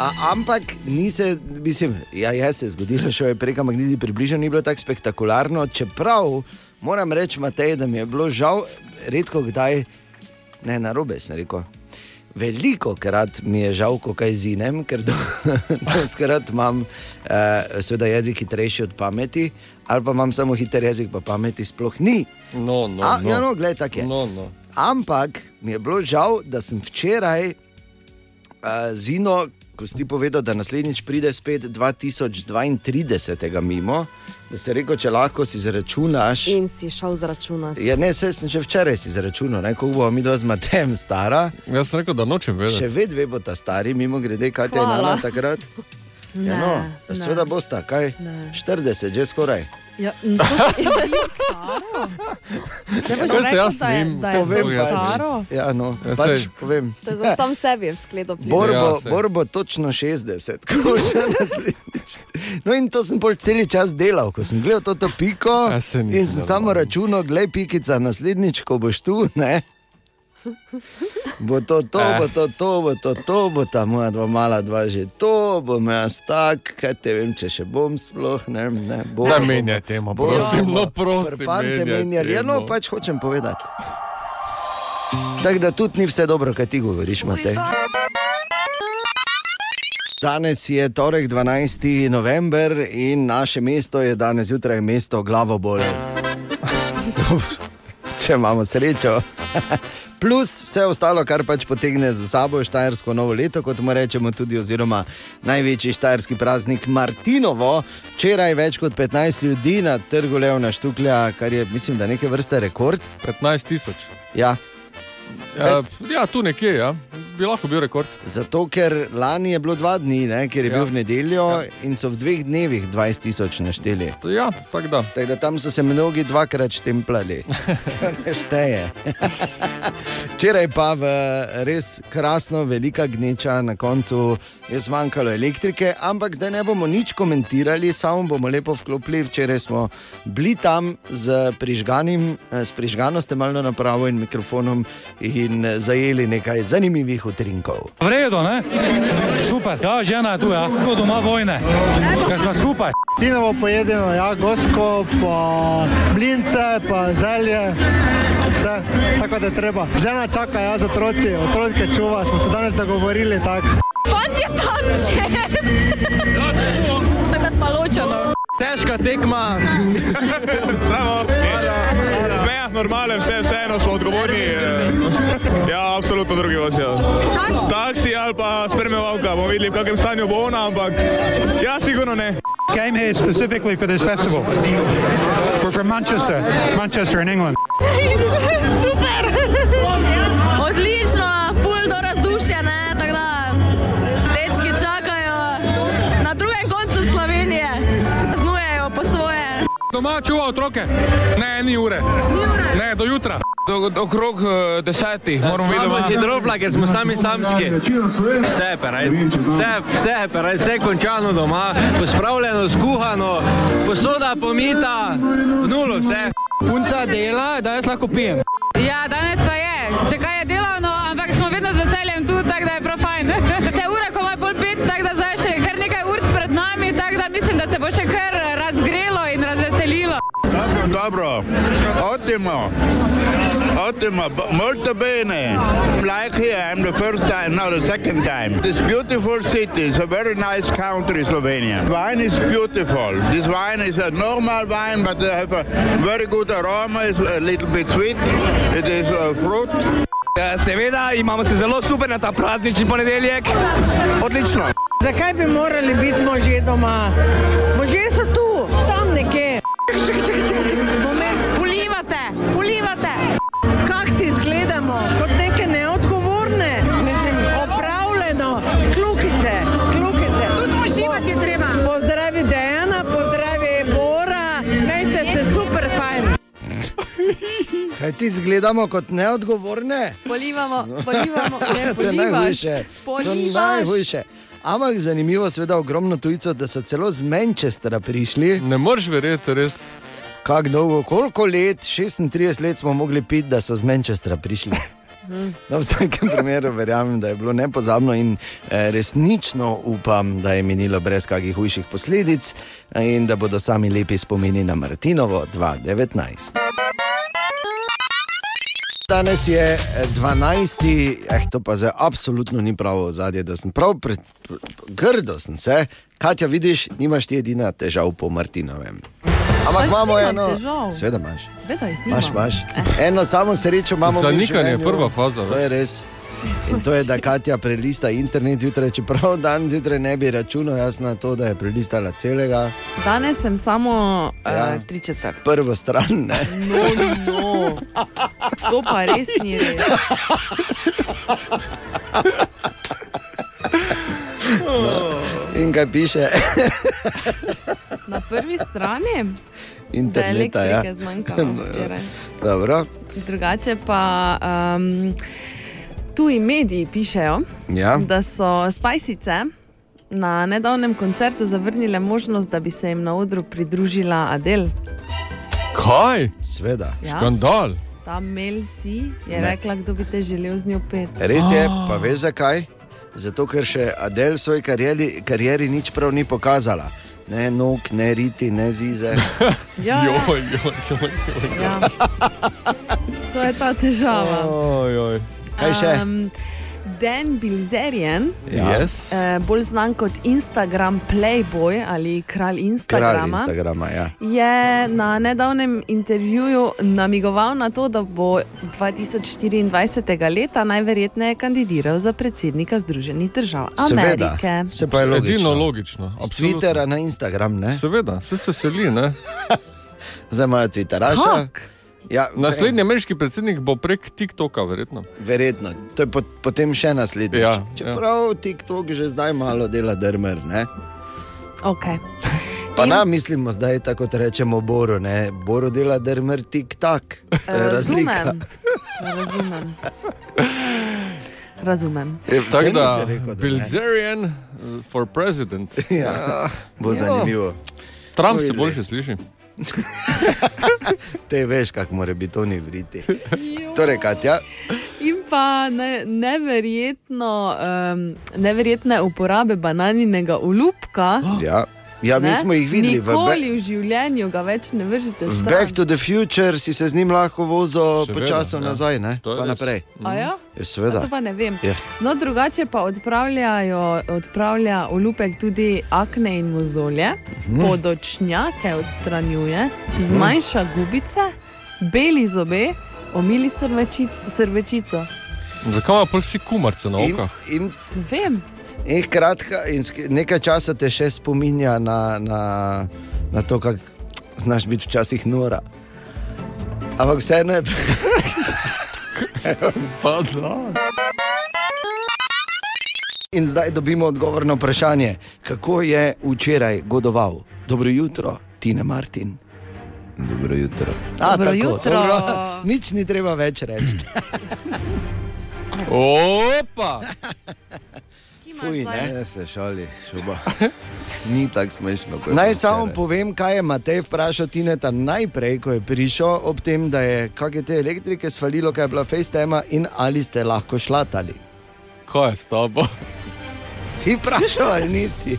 [SPEAKER 3] A, ampak ni se, mislim, ja, je se zgodilo, še je prek, ampak niti približno ni bilo tako spektakularno. Čeprav moram reči, Matej, da mi je bilo žal, redko kdaj, ne na robe, sem rekel. Veliko krat mi je žal, ko kaj zinem, ker do, doskrat imam eh, seveda jezik hitrejši od pameti, ali pa imam samo hiter jezik, pa pameti sploh ni.
[SPEAKER 6] No, no,
[SPEAKER 3] A,
[SPEAKER 6] no.
[SPEAKER 3] Ja, no, gledaj, tako je.
[SPEAKER 6] No, no.
[SPEAKER 3] Ampak mi je bilo žal, da sem včeraj uh, zino, ko si ti povedal, da naslednjič pride spet 2032 mimo, da se reko, če lahko si zračunaš.
[SPEAKER 5] In si šel zračunati.
[SPEAKER 3] Ja, ne, saj sem že včeraj si zračunal, ne, ko bomo mi dva z Matejem stara.
[SPEAKER 6] Jaz sem rekel, da nočem vedeti.
[SPEAKER 3] Še vedve bo ta stari, mimo grede, kaj te je
[SPEAKER 5] Hvala.
[SPEAKER 3] nala takrat. Ja, no,
[SPEAKER 7] Ne,
[SPEAKER 3] seveda
[SPEAKER 7] ne.
[SPEAKER 3] bosta, kaj?
[SPEAKER 7] Ne.
[SPEAKER 3] 40, že skoraj.
[SPEAKER 7] Ja, in to se mi zdi staro. Zdaj boš
[SPEAKER 6] Ja, se
[SPEAKER 7] rekel,
[SPEAKER 6] jaz
[SPEAKER 7] da je-
[SPEAKER 6] njim
[SPEAKER 7] da je
[SPEAKER 6] povem,
[SPEAKER 7] to
[SPEAKER 6] pač.
[SPEAKER 7] staro.
[SPEAKER 3] Ja, no,
[SPEAKER 6] Ja,
[SPEAKER 3] pač
[SPEAKER 6] saj.
[SPEAKER 3] povem.
[SPEAKER 5] To je
[SPEAKER 11] Ja.
[SPEAKER 5] za sam sebi je v skledu plin.
[SPEAKER 3] Borbo,
[SPEAKER 6] Ja,
[SPEAKER 3] ja,
[SPEAKER 6] saj.
[SPEAKER 3] borbo točno 60, ko bo še naslednjič. No, in to sem bolj cel čas delal, ko sem gledal to, to piko.
[SPEAKER 6] Ja, saj nisem
[SPEAKER 3] in sem samo
[SPEAKER 6] normal.
[SPEAKER 3] računal, glej, pikica, naslednjič, ko boš tu, ne. Bo to, to,
[SPEAKER 6] Eh.
[SPEAKER 3] bo to, to, bo to, to, bo ta moja dva mala dva že to, bom jaz tak, kaj te vem, če še bom sploh, ne, ne bo.
[SPEAKER 6] Ne menjaj temo, prosim, no, prosim.
[SPEAKER 3] Pante menjali, ja, no,
[SPEAKER 6] temo.
[SPEAKER 3] pač hočem povedati. Tako da tudi ni vse dobro, kaj ti govoriš, Matej. Danes je torek 12. november in naše mesto je danes zjutraj mesto Glavobol. Če imamo srečo. Plus vse ostalo, kar pač potegne za sabo Štajersko novo leto, kot mu rečemo tudi, oziroma največji štajerski praznik Martinovo. Včeraj več kot 15 ljudi na trgu Levna Štuklja, kar je, mislim, da neke vrste rekord.
[SPEAKER 6] 15 tisoč.
[SPEAKER 3] Ja,
[SPEAKER 6] Ja, ja, tu nekje, ja. bi lahko bil rekord.
[SPEAKER 3] Zato, ker lani je bilo dva dni, ne, ker je
[SPEAKER 6] Ja.
[SPEAKER 3] ja. bil v nedeljo
[SPEAKER 6] Ja.
[SPEAKER 3] ja. in so v dveh dnevih 20 tisoč našteli.
[SPEAKER 6] To, ja, tako da.
[SPEAKER 3] Tako da tam so se mnogi dvakrat štemplali, kar ne šteje. Včeraj pa v res krasno, velika gneča, na koncu je zmanjkalo elektrike, ampak zdaj ne bomo nič komentirali, samo bomo lepo vklopili. Včeraj smo bili tam z, prižganim, eh, s prižgano stemalno napravo in mikrofonom in eh, zajeli nekaj zanimivih utrinkov.
[SPEAKER 12] V redu, ne? Super. Ja, žena je tu, ja. Kot doma vojne. Kaj smo skupaj?
[SPEAKER 11] Tinovo pojedeno, ja, gosko, pa mlince, pa zelje, vse tako da je treba. Žena čaka, jaz otroci, otroke čuva, smo se danes dogovorili tako.
[SPEAKER 10] Fant je tam čez. Tako smo ločeno.
[SPEAKER 13] Težka tekma. V mejah normale, vse, vseeno smo odgovorni. eh. Ja, absolutno drugi vas je. Taksi ali pa spremljevalka, bomo videli, v kakem stanju bo ona, ampak ja, sigurno ne.
[SPEAKER 12] Came here specifically for this festival. We're from Manchester, Manchester in England.
[SPEAKER 10] Super. Odlično, ful do razdušja, ne, tako da. Dečki čakajo na drugem koncu Slovenije. Znujejo po svoje.
[SPEAKER 12] Doma čuva otroke. Ne, ni ure. Ne, do jutra.
[SPEAKER 13] Do, do okrog eh, desetih moramo videti.
[SPEAKER 14] Samo si drobla, ker smo sami samski. Vse je peraj, vse, vse je peraj, vse je končano doma, pospravljeno, skuhano, posoda pomita, v nulo vse.
[SPEAKER 15] Punca dela, da jaz lahko pijem.
[SPEAKER 16] Ja, danes pa je. Čekaj je delovno, ampak smo vedno z veseljem tu, tako da je prav fajn. Se ura komaj pol pet, tako da zdaj še kar nekaj ur pred nami, tako da mislim, da se bo še kar razgrelo in razveselilo.
[SPEAKER 17] Dobro, dobro, ottimo, ottimo, b- molto bene. Like here, I'm the first time, not the second time. This beautiful city is a very nice country, Slovenia. Wine is beautiful. This wine is a normal wine, but they have a very good aroma. It's a little bit sweet. It is a fruit.
[SPEAKER 14] Eh, Seveda imamo se zelo super na ta praznični ponedeljek. Odlično.
[SPEAKER 18] Zakaj bi morali biti možje doma? Možje so tu, tam nekje. Čekaj, čekaj, čekaj, čekaj. Polivate, polivate. Kak ti izgledamo? Kot neke neodgovorne, mislim, opravljeno, klukice, klukice.
[SPEAKER 3] Kaj ti zgledamo kot neodgovorne?
[SPEAKER 7] Polivamo, polivamo, ne,
[SPEAKER 3] to je
[SPEAKER 7] polivaš,
[SPEAKER 3] najhujše. To je
[SPEAKER 7] polivaš.
[SPEAKER 3] najhujše. Ampak zanimivo, seveda, ogromno tujcev, da so celo z Manchestra prišli.
[SPEAKER 6] Ne moreš verjeti, res.
[SPEAKER 3] Kako dolgo, koliko let, 36 let smo mogli piti, da so z Manchestra prišli. Na vsakem primeru verjamem, da je bilo nepozabno in eh, resnično upam, da je minilo brez kakih hujših posledic eh, in da bodo sami lepi spomini na Martinovo 2019. Danes je eh, 12. Eh, to pa zdaj absolutno ni pravo zadje, da sem prav pred, pr, grdo sem se. Katja, vidiš, nimaš ti edina težav po Martinovem. Ampak
[SPEAKER 7] Jaz
[SPEAKER 3] imamo
[SPEAKER 7] nimam
[SPEAKER 3] eno.
[SPEAKER 7] težav.
[SPEAKER 3] Sveda imaš.
[SPEAKER 7] Sveda jih
[SPEAKER 3] Imaš,
[SPEAKER 7] nimam.
[SPEAKER 3] imaš. Eno samo srečo imamo. mi v
[SPEAKER 6] Zanikanje je
[SPEAKER 3] življenju.
[SPEAKER 6] prva faza.
[SPEAKER 3] To je res. In to je, da Katja prelista internet zjutraj, čeprav dan zjutraj ne bi računal, jaz na to, da je prelistala celega,
[SPEAKER 7] Danes sem samo
[SPEAKER 3] Ja.
[SPEAKER 7] ja. uh, tri četrt.
[SPEAKER 3] prvo stran. Ne?
[SPEAKER 7] No, no, to pa res ni res.
[SPEAKER 3] In kaj piše,
[SPEAKER 7] Na prvi strani da je
[SPEAKER 3] interneta.
[SPEAKER 7] elektrike
[SPEAKER 3] ja.
[SPEAKER 7] zmanjkalo
[SPEAKER 3] No, ja.
[SPEAKER 7] včeraj.
[SPEAKER 3] Dobro,
[SPEAKER 7] Drugače pa um, tuji mediji pišejo,
[SPEAKER 3] Ja.
[SPEAKER 7] da so spajsice na nedavnem koncertu zavrnile možnost, da bi se jim na odru pridružila Adel.
[SPEAKER 6] Kaj?
[SPEAKER 3] Sveda.
[SPEAKER 7] Ja.
[SPEAKER 6] Škandal.
[SPEAKER 7] Ta Mel si je
[SPEAKER 3] Ne.
[SPEAKER 7] ne. rekla, kdo bi te želel z njo pet.
[SPEAKER 3] res je, pa veš zakaj? Zato, ker še Adel v svoji karieri, karieri nič prav ni pokazala. Ne nog, ne riti, ne zize.
[SPEAKER 7] Ja, ja.
[SPEAKER 6] Joj, joj, joj, joj.
[SPEAKER 7] Ja. To je ta težava.
[SPEAKER 6] Ojoj.
[SPEAKER 3] Kaj še?
[SPEAKER 7] Um, Dan Bilzerian,
[SPEAKER 3] Ja.
[SPEAKER 6] Yes.
[SPEAKER 7] eh, bolj znan kot Instagram Playboy ali kralj Instagrama,
[SPEAKER 3] Kralj Instagrama, ja.
[SPEAKER 7] je na nedavnem intervjuju namigoval na to, da bo 2024. leta najverjetneje kandidiral za predsednika Združenih držav
[SPEAKER 3] Seveda,
[SPEAKER 7] Amerike.
[SPEAKER 3] se pa je logično.
[SPEAKER 6] Edino logično.
[SPEAKER 3] Z Twittera na Instagram, ne?
[SPEAKER 6] Seveda, se se seli, ne?
[SPEAKER 3] Zdaj imajo Twitteraša. Ja,
[SPEAKER 6] Naslednji ameriški predsednik bo prek TikToka, verjetno.
[SPEAKER 3] Verjetno, to je pot, potem še naslednji.
[SPEAKER 6] Ja, ja.
[SPEAKER 3] Čeprav TikTok že zdaj malo dela drmer. Ne?
[SPEAKER 7] Okay.
[SPEAKER 3] Pa nam mislimo zdaj, tako kot rečemo, Boru. Ne? Boru dela drmer tik-tak. To je razlika.
[SPEAKER 7] Razumem. Razumem. Razumem.
[SPEAKER 6] ja. Tako
[SPEAKER 3] Saj
[SPEAKER 6] da,
[SPEAKER 3] nisi rekel, da ne.
[SPEAKER 6] Bilzerian eh, for president.
[SPEAKER 3] Ja, bo zanimivo.
[SPEAKER 6] Trump
[SPEAKER 3] Oj,
[SPEAKER 6] se
[SPEAKER 3] le.
[SPEAKER 6] boljše sliši.
[SPEAKER 3] Te veš, kako mora biti to ni vriti. Torej, Katja,
[SPEAKER 7] In pa ne, neverjetno, um, neverjetne uporabe bananinega olupka.
[SPEAKER 3] ja. Ja, mi
[SPEAKER 7] ne?
[SPEAKER 3] smo jih videli v Be-
[SPEAKER 7] Nikoli v življenju ga več ne vržete
[SPEAKER 3] V
[SPEAKER 7] stran.
[SPEAKER 3] Back to the Future si se z njim lahko vozil
[SPEAKER 6] Seveda,
[SPEAKER 3] počasi
[SPEAKER 6] ja.
[SPEAKER 3] nazaj, ne?
[SPEAKER 6] To je
[SPEAKER 3] pa
[SPEAKER 6] res.
[SPEAKER 3] naprej.
[SPEAKER 7] A ja?
[SPEAKER 3] Ja,
[SPEAKER 7] A
[SPEAKER 3] Seveda.
[SPEAKER 7] To pa ne vem.
[SPEAKER 3] Ja.
[SPEAKER 7] No, drugače pa odpravljajo, odpravlja olupek tudi akne in mozolje,
[SPEAKER 3] Mhm.
[SPEAKER 7] podočnjake odstranjuje, zmanjša gubice, beli zobe, omili srbečic, srbečico.
[SPEAKER 6] Zakaj ima pa vsi kumarce na okah?
[SPEAKER 3] In,
[SPEAKER 7] Ne vem.
[SPEAKER 3] in Eh, kratka, in sk- nekaj časa te še spominja na, na, na to, kako znaš biti včasih nora. Ampak vseeno je. In zdaj dobimo odgovor na vprašanje, kako je včeraj godoval. Dobro jutro, Tina Martin.
[SPEAKER 2] Dobro jutro.
[SPEAKER 3] A,
[SPEAKER 7] Dobro
[SPEAKER 3] tako,
[SPEAKER 7] jutro.
[SPEAKER 3] Dobro, nič ni treba več reči.
[SPEAKER 6] Opa!
[SPEAKER 3] Fuj, ne?
[SPEAKER 2] Ne se šali, šuba. Ni tako smešno. kot
[SPEAKER 3] Naj
[SPEAKER 2] sem
[SPEAKER 3] samo
[SPEAKER 2] včeraj.
[SPEAKER 3] povem, kaj je Matej vprašal Tineta najprej, ko je prišel, ob tem, da je kakšne te elektrike svalilo, kaj je bila FaceTime in ali ste lahko šlatali.
[SPEAKER 6] Kaj je s tabo?
[SPEAKER 3] Si vprašal ali nisi?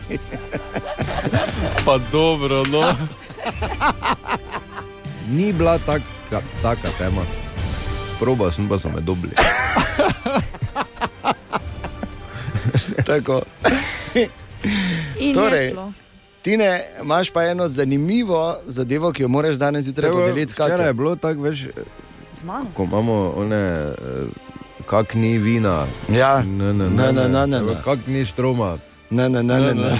[SPEAKER 6] Pa dobro, no.
[SPEAKER 2] Ni bila taka, taka tema. Proba sem pa so me dobili.
[SPEAKER 3] Tako.
[SPEAKER 7] In torej. je
[SPEAKER 3] Torej,
[SPEAKER 7] šlo.
[SPEAKER 3] Tine, imaš pa eno zanimivo zadevo, ki jo moraš danes zjutraj podeliti s
[SPEAKER 2] Včeraj je
[SPEAKER 3] Katjo.
[SPEAKER 2] bilo tako, veš,
[SPEAKER 7] Z mano.
[SPEAKER 2] ko imamo one, eh, kak ni vina.
[SPEAKER 3] Ja,
[SPEAKER 2] ne, ne,
[SPEAKER 3] Ne, ne, ne, ne, ne.
[SPEAKER 2] Kak ni štroma.
[SPEAKER 3] Ne, ne, ne, ne, ne,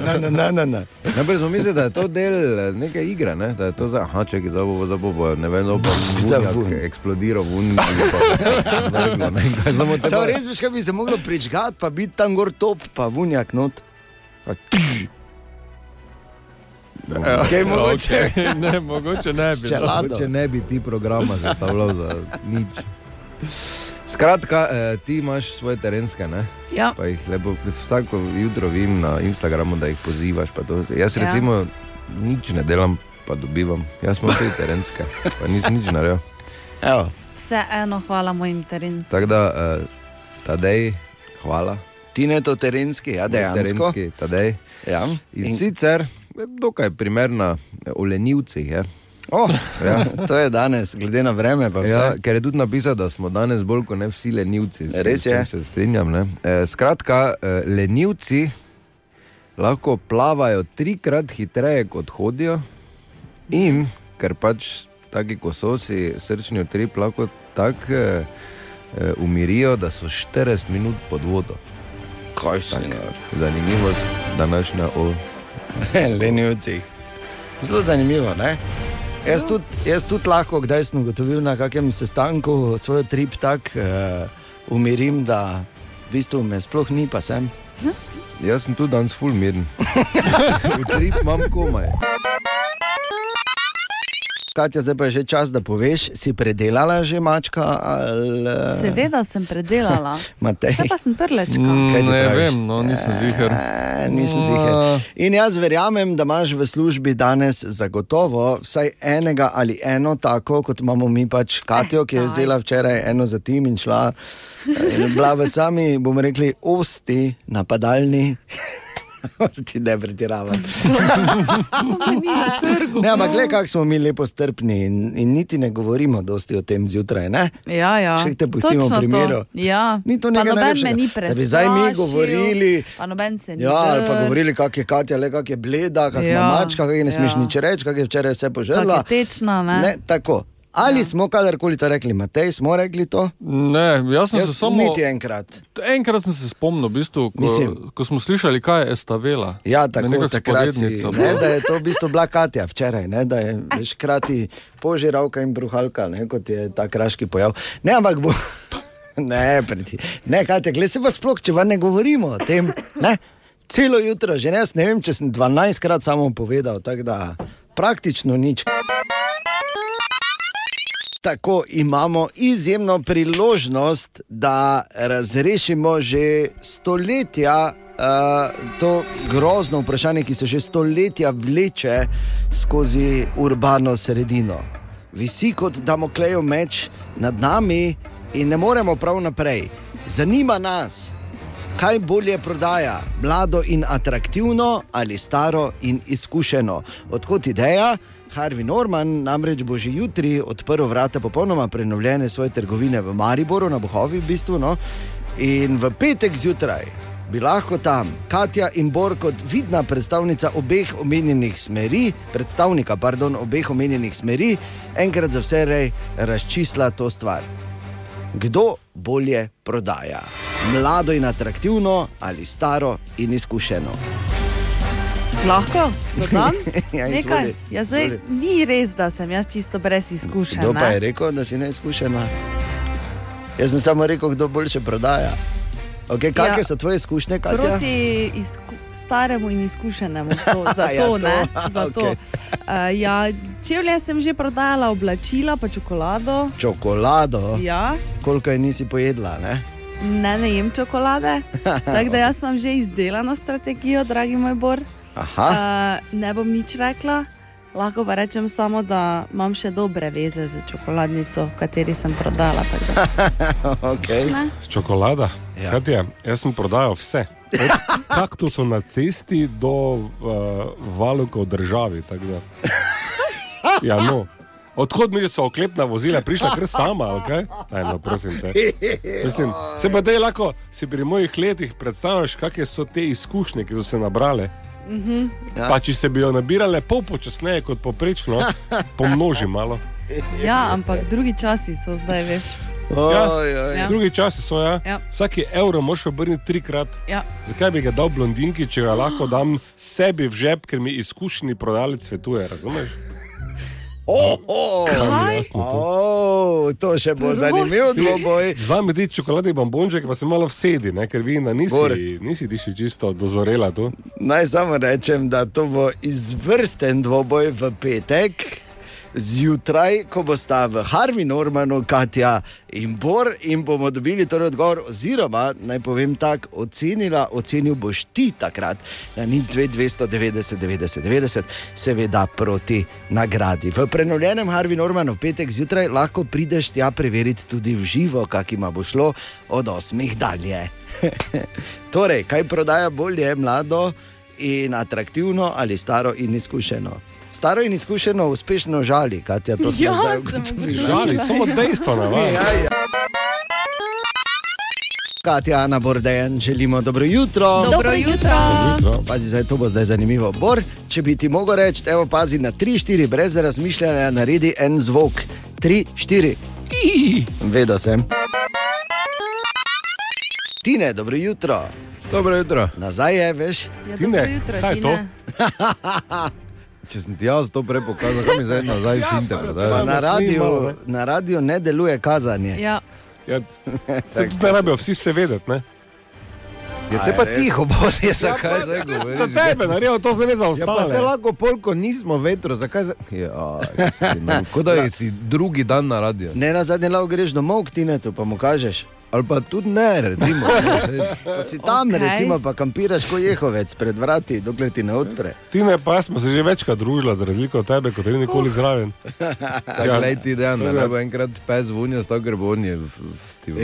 [SPEAKER 3] ne, ne, ne, ne, ne.
[SPEAKER 2] Najprej smo mislili, da je to del eh, neke igre, ne? da je to za aha, če je zdaj bo, zdaj bo, bo, ne vem, zdaj bo
[SPEAKER 3] vun.
[SPEAKER 2] vunjak eksplodiral vun. ali pa vrglo, ne. Kaj samo te
[SPEAKER 3] Samo
[SPEAKER 2] bo-
[SPEAKER 3] res veš, kaj bi se moglo pričgati, pa biti tam gor top, pa vunjak not. Pa tš. Kaj mogoče?
[SPEAKER 6] Okay, ne, mogoče ne bi. no.
[SPEAKER 2] Če ne bi ti programa zastavljal za nič. Skratka, eh, ti imaš svoje terenske, ne?
[SPEAKER 7] Ja.
[SPEAKER 2] Pa jih lepo, vsako jutro vidim na Instagramu, da jih pozivaš. pa To, jaz
[SPEAKER 7] Ja.
[SPEAKER 2] ja. recimo nič ne delam, pa dobivam. Jaz imam te terenske, pa nisem nič naredil. Evo.
[SPEAKER 7] Vseeno, hvala mojim terencem.
[SPEAKER 2] Tako da, eh, tadej, hvala.
[SPEAKER 3] Ti ne to terenski, ja, dejansko.
[SPEAKER 2] Terenski, tadej.
[SPEAKER 3] Ja.
[SPEAKER 2] In,
[SPEAKER 3] In-
[SPEAKER 2] In sicer, dokaj primerna eh, o lenivcih je.
[SPEAKER 3] Oh,
[SPEAKER 2] Ja.
[SPEAKER 3] to je danes, glede na vreme. pa vse.
[SPEAKER 2] Ja, ker je tudi napisal, da smo danes bolj kot ne vsi lenivci. S
[SPEAKER 3] Res
[SPEAKER 2] tem
[SPEAKER 3] je.
[SPEAKER 2] Se strinjam. Ne? E, skratka, e, lenivci lahko plavajo trikrat hitreje, kot hodijo, in ker pač taki kososi, srčni utrip, lahko tako e, e, umirijo, da so 40 minut pod vodo.
[SPEAKER 3] Kaj se je?
[SPEAKER 2] Zanimivost današnja o
[SPEAKER 3] lenivcih. Zelo zanimivo. Ne?
[SPEAKER 2] Ja.
[SPEAKER 3] Jaz tudi, jaz tudi lahko, kdaj sem ugotovil na kakem sestanku, svoj trip tako uh, umirim, da v bistvu me sploh ni, pa sem.
[SPEAKER 2] Jaz sem tudi danes full miren. Utrip imam komaj.
[SPEAKER 3] Katja, zdaj pa je že čas, da poveš, si predelala že mačka ali. eh,
[SPEAKER 7] Seveda sem predelala.
[SPEAKER 3] Matej.
[SPEAKER 7] Vse pa sem prlečka.
[SPEAKER 3] Kaj ti
[SPEAKER 6] Ne
[SPEAKER 3] praviš?
[SPEAKER 6] vem, no, nisem zihar.
[SPEAKER 3] Eh, Nisem ziger. In jaz verjamem, da imaš v službi danes zagotovo vsaj enega ali eno tako, kot imamo mi pač Katijo, ki je vzela včeraj eno za tim in šla. eh, In bila v sami, bomo rekli, osti, napadalni. Ti ne pretiravaj. Ne, ampak le kako smo mi lepo strpni in, in niti ne govorimo dosti o tem zjutraj. Ne?
[SPEAKER 7] Ja, ja.
[SPEAKER 3] Še te pustimo
[SPEAKER 7] Točno to.
[SPEAKER 3] v primeru.
[SPEAKER 7] Ja.
[SPEAKER 3] Ni to
[SPEAKER 7] Pa
[SPEAKER 3] nekaj
[SPEAKER 7] noben
[SPEAKER 3] najlepšega.
[SPEAKER 7] me ni
[SPEAKER 3] Da bi zdaj mi
[SPEAKER 7] prestrašil,
[SPEAKER 3] govorili-
[SPEAKER 7] Pa noben se ni.
[SPEAKER 3] Ja, ali pa
[SPEAKER 7] drl.
[SPEAKER 3] govorili, kako je Katja, le kako je bleda, kako
[SPEAKER 7] Ja,
[SPEAKER 3] ja, mačka, kako ji ne smeš
[SPEAKER 7] ja.
[SPEAKER 3] ja. nič reči, kako je včeraj vse
[SPEAKER 7] Tako je
[SPEAKER 3] požrla.
[SPEAKER 7] tečna, ne?
[SPEAKER 3] Ne, tako. Ali ja. smo kadarkoli to rekli, Matej, smo rekli to?
[SPEAKER 6] Ne, jaz sem se samo.
[SPEAKER 3] Niti enkrat.
[SPEAKER 6] Enkrat sem se spomnil, v bistvu, ko,
[SPEAKER 3] Mislim-
[SPEAKER 6] ko smo slišali, kaj je estavela.
[SPEAKER 3] Ja, tako
[SPEAKER 6] Nekako
[SPEAKER 3] takrat si,
[SPEAKER 6] sporednica
[SPEAKER 19] no.
[SPEAKER 3] ne,
[SPEAKER 6] bila.
[SPEAKER 3] da je to v bistvu bila Katja včeraj, ne, da je veš, hkrati požiralka in bruhalka, ne, kot je ta kraški pojav. Ne, ampak bo. Ne, preti. Ne, Katja, glej se pa sploh, če vam ne govorimo o tem. Ne? Celo jutro, že jaz ne vem, če sem 12krat samo povedal, tako da praktično nič. Tako imamo izjemno priložnost, da razrešimo že stoletja uh, to grozno vprašanje, ki se že stoletja vleče skozi urbano sredino. Visi kot Damoklejev meč nad nami in ne moremo prav naprej. Zanima nas, kaj bolje prodaja, mlado in atraktivno ali staro in izkušeno. Odkot ideja? Harvey Norman namreč bo že jutri odprl vrata popolnoma prenovljene svoje trgovine v Mariboru, na Bohovi v bistvu. No? In v petek zjutraj bi lahko tam Katja in Bor kot vidna predstavnica obeh omenjenih smeri, predstavnika pardon, obeh omenjenih smeri, enkrat za vse rej razčisla to stvar kdo bolje prodaja. Mlado in atraktivno ali staro in izkušeno.
[SPEAKER 7] Lahko, dodam?
[SPEAKER 3] Ja,
[SPEAKER 7] Nekaj.
[SPEAKER 3] izvoli,
[SPEAKER 7] Ja, zdaj,
[SPEAKER 3] izvoli.
[SPEAKER 7] ni res, da sem jaz čisto brez izkušenj.
[SPEAKER 3] Kdo pa
[SPEAKER 7] ne.
[SPEAKER 3] je rekel, da si neizkušena? Jaz sem samo rekel, kdo boljše prodaja. Okay, kakšne
[SPEAKER 7] Ja.
[SPEAKER 3] so tvoje izkušnje, Katja?
[SPEAKER 7] Proti izku, staremu in izkušenemu, to, zato
[SPEAKER 3] Ja, to,
[SPEAKER 7] ne. Zato.
[SPEAKER 3] okej.
[SPEAKER 7] Uh, ja, čevlje sem že prodajala, oblačila, pa čokolado.
[SPEAKER 3] Čokolado,
[SPEAKER 7] Ja,
[SPEAKER 3] koliko je nisi pojedla? Ne?
[SPEAKER 7] ne, ne jem čokolade. Tako da jaz imam že izdelano strategijo, dragi moj bor.
[SPEAKER 3] Aha,
[SPEAKER 7] Uh, ne bom nič rekla. Lahko pa rečem samo, da imam še dobre veze z čokoladnico, v kateri sem prodala. tako da- Ja.
[SPEAKER 3] okay.
[SPEAKER 7] Ne.
[SPEAKER 19] S čokolada.
[SPEAKER 3] Ja.
[SPEAKER 19] Katja, jaz sem prodajal vse. Od kaktusov na cesti do uh, valuka v državi. tako da. Ja, no. Odkud mi so oklepna vozila, prišla kar sama, ali kaj? Aj, no, prosim te. Mislim, se pa dej lahko, si pri mojih letih predstavljaš, kakšne so te izkušnje, ki so se nabrale.
[SPEAKER 7] Mhm.
[SPEAKER 19] Ja. Pa če se bi jo nabirale pol počasneje kot poprečno, pomnoži malo.
[SPEAKER 7] Ja, ampak drugi časi so zdaj, veš.
[SPEAKER 19] Ja. Drugi časi so, ja.
[SPEAKER 7] Ja.
[SPEAKER 19] ja. Vsaki evro moraš obrniti trikrat.
[SPEAKER 7] Ja.
[SPEAKER 19] Zakaj bi ga dal blondinki, če ga lahko dam sebi v žep, ker mi izkušeni prodajalec svetuje, razumeš?
[SPEAKER 3] Oho!
[SPEAKER 19] Kaj mi je jasno to?
[SPEAKER 3] Oh, Wow, to še bo zanimivo, dvoboj.
[SPEAKER 19] Znam ti čokoladni bombonček, pa se malo vsedi, ne? ker vi na nisi,
[SPEAKER 3] Bor.
[SPEAKER 19] nisi ti še čisto dozorela tu.
[SPEAKER 3] Naj samo rečem, da to bo izvrsten dvoboj v petek. Zjutraj, ko bosta v Harvi Normanu, Katja in Bor, in bomo dobili torej odgovor, oziroma naj povem tako, ocenila, ocenil boš ti takrat na nič 290, 90, 90, seveda proti nagradi. V prenovljenem Harvi Normanu v petek zjutraj lahko prideš tja preveriti tudi v živo, kak ima bo šlo od 8 dalje. Torej, kaj prodaja bolje, mlado in atraktivno ali staro in izkušeno? Staro in izkušeno uspešno žali, Katja, to smo
[SPEAKER 19] Ja,
[SPEAKER 3] zdaj
[SPEAKER 19] sem
[SPEAKER 3] ugotovili.
[SPEAKER 19] ugotovila, Žali, ja. samo dejstva navaja.
[SPEAKER 3] Ja, ja. Katja, Ana Bordejan, želimo dobro jutro.
[SPEAKER 7] Dobro jutro.
[SPEAKER 3] Pazi, zdaj, to bo zdaj zanimivo. Bor, če bi ti mogel reči, evo, pazi na 3-4, brez razmišljanja, naredi en zvok. 3-4. Vedel sem. Tine, dobro jutro.
[SPEAKER 2] Dobro jutro.
[SPEAKER 3] Nazaj je, veš?
[SPEAKER 2] Ja, Tine, dobro jutro, kaj je Tine. Če sem ti jaz to prej pokazal, kaj mi zdaj nazaj ja, finte
[SPEAKER 3] Pa
[SPEAKER 2] prodajaš.
[SPEAKER 3] na, radiju, na radiju ne deluje kazanje.
[SPEAKER 7] Ja.
[SPEAKER 19] Ja, se ne rabijo vsi se vedeti, ne?
[SPEAKER 2] Je te pa tiho, bodi, zakaj zdaj govoriš?
[SPEAKER 19] Za tebe, naredil to zdaj ne za
[SPEAKER 2] Ja, pa se
[SPEAKER 19] ostale.
[SPEAKER 2] lahko polko nismo vetro, zakaj zdaj? Ja, kot da je si drugi dan na radiju.
[SPEAKER 3] Ne na zadnje lahko greš domov k Tinetu, pa mu kažeš.
[SPEAKER 2] Ali pa tudi ne, recimo.
[SPEAKER 3] pa si tam,
[SPEAKER 19] Okej.
[SPEAKER 3] okay. recimo, pa kampiraš kot jehovec pred vrati, dokler ti ne odpre.
[SPEAKER 19] Ti ne, pa jaz smo se že večkrat družila, za razliko od tebe, kot ni nikoli zraven.
[SPEAKER 2] Tako
[SPEAKER 19] Ja.
[SPEAKER 2] ja. lej ti dan,
[SPEAKER 19] Tako da-
[SPEAKER 2] ne bo enkrat pes vunil, sta grbonje v v- ti v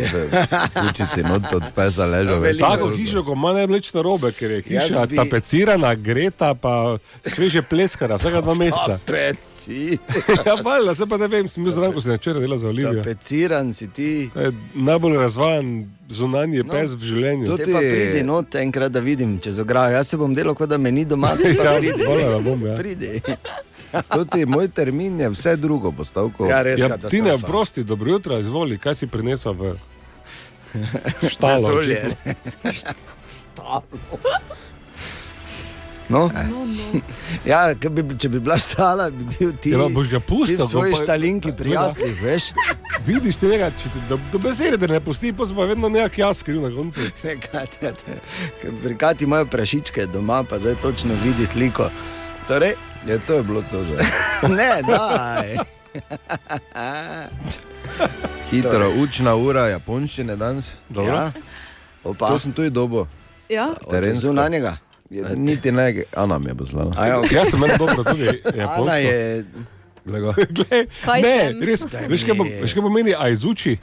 [SPEAKER 2] ključici, not od pesa ležal. veš.
[SPEAKER 19] Tako hišo, ko ima največ narobe, ker je hiša
[SPEAKER 2] Jaz
[SPEAKER 19] bi...
[SPEAKER 2] bi-
[SPEAKER 19] tapecirana, greta, pa sveže pleskana, vsaka dva meseca.
[SPEAKER 3] Tapeci.
[SPEAKER 19] ja, valjda, se pa ne vem, sem bil zraven, ko sem včeraj delal za Olivijo.
[SPEAKER 3] Tapeciran si ti.
[SPEAKER 19] To je Najbolj razvajen zunanji no, pes v življenju.
[SPEAKER 3] Te pa pridi not enkrat, da vidim čez ograjo. Jaz se bom delal, kot da me ni doma. ti pa
[SPEAKER 19] Ja,
[SPEAKER 3] pridi.
[SPEAKER 19] valjda bom, ja.
[SPEAKER 3] Pridi.
[SPEAKER 2] Tudi moj termin je vse drugo postavko.
[SPEAKER 3] Ja, res
[SPEAKER 19] Ja, ti ne,
[SPEAKER 3] katastrofa.
[SPEAKER 19] prosti, dobro jutro, izvoli, kaj si prinesel v štalo.
[SPEAKER 3] Vesolje. No? Ja, ke bi, če bi bila stala, bi bil ti.
[SPEAKER 19] Ja, boš ga pustil,
[SPEAKER 3] ti v svoji
[SPEAKER 19] ko pa-
[SPEAKER 3] štalinki prijaznih, veš?
[SPEAKER 19] Vidiš tega, če te do, do besede te ne pusti, pa se pa vedno nekak jaz skriv na koncu.
[SPEAKER 3] Prikati imajo prašičke doma, pa zdaj točno vidi sliko. Torej,
[SPEAKER 2] je Ja, to je bilo to že.
[SPEAKER 3] ne, daj.
[SPEAKER 2] Hitro, učna ura japonščine danes.
[SPEAKER 3] Dobro. Ja. Opa.
[SPEAKER 2] To sem tudi dobo.
[SPEAKER 7] Ja?
[SPEAKER 3] Od zunanjega?
[SPEAKER 2] Niti ne, Ana mi je no. poslala.
[SPEAKER 3] A ja, okej.
[SPEAKER 19] Jaz sem meni dobro tudi japonsko.
[SPEAKER 3] Ana je-
[SPEAKER 2] Glego.
[SPEAKER 19] Glej,
[SPEAKER 3] Kaj
[SPEAKER 19] ne,
[SPEAKER 3] sem?
[SPEAKER 19] res,
[SPEAKER 3] Daj
[SPEAKER 19] veš, kaj,
[SPEAKER 3] mi.
[SPEAKER 19] pom- veš, kaj pomeni, a izuči?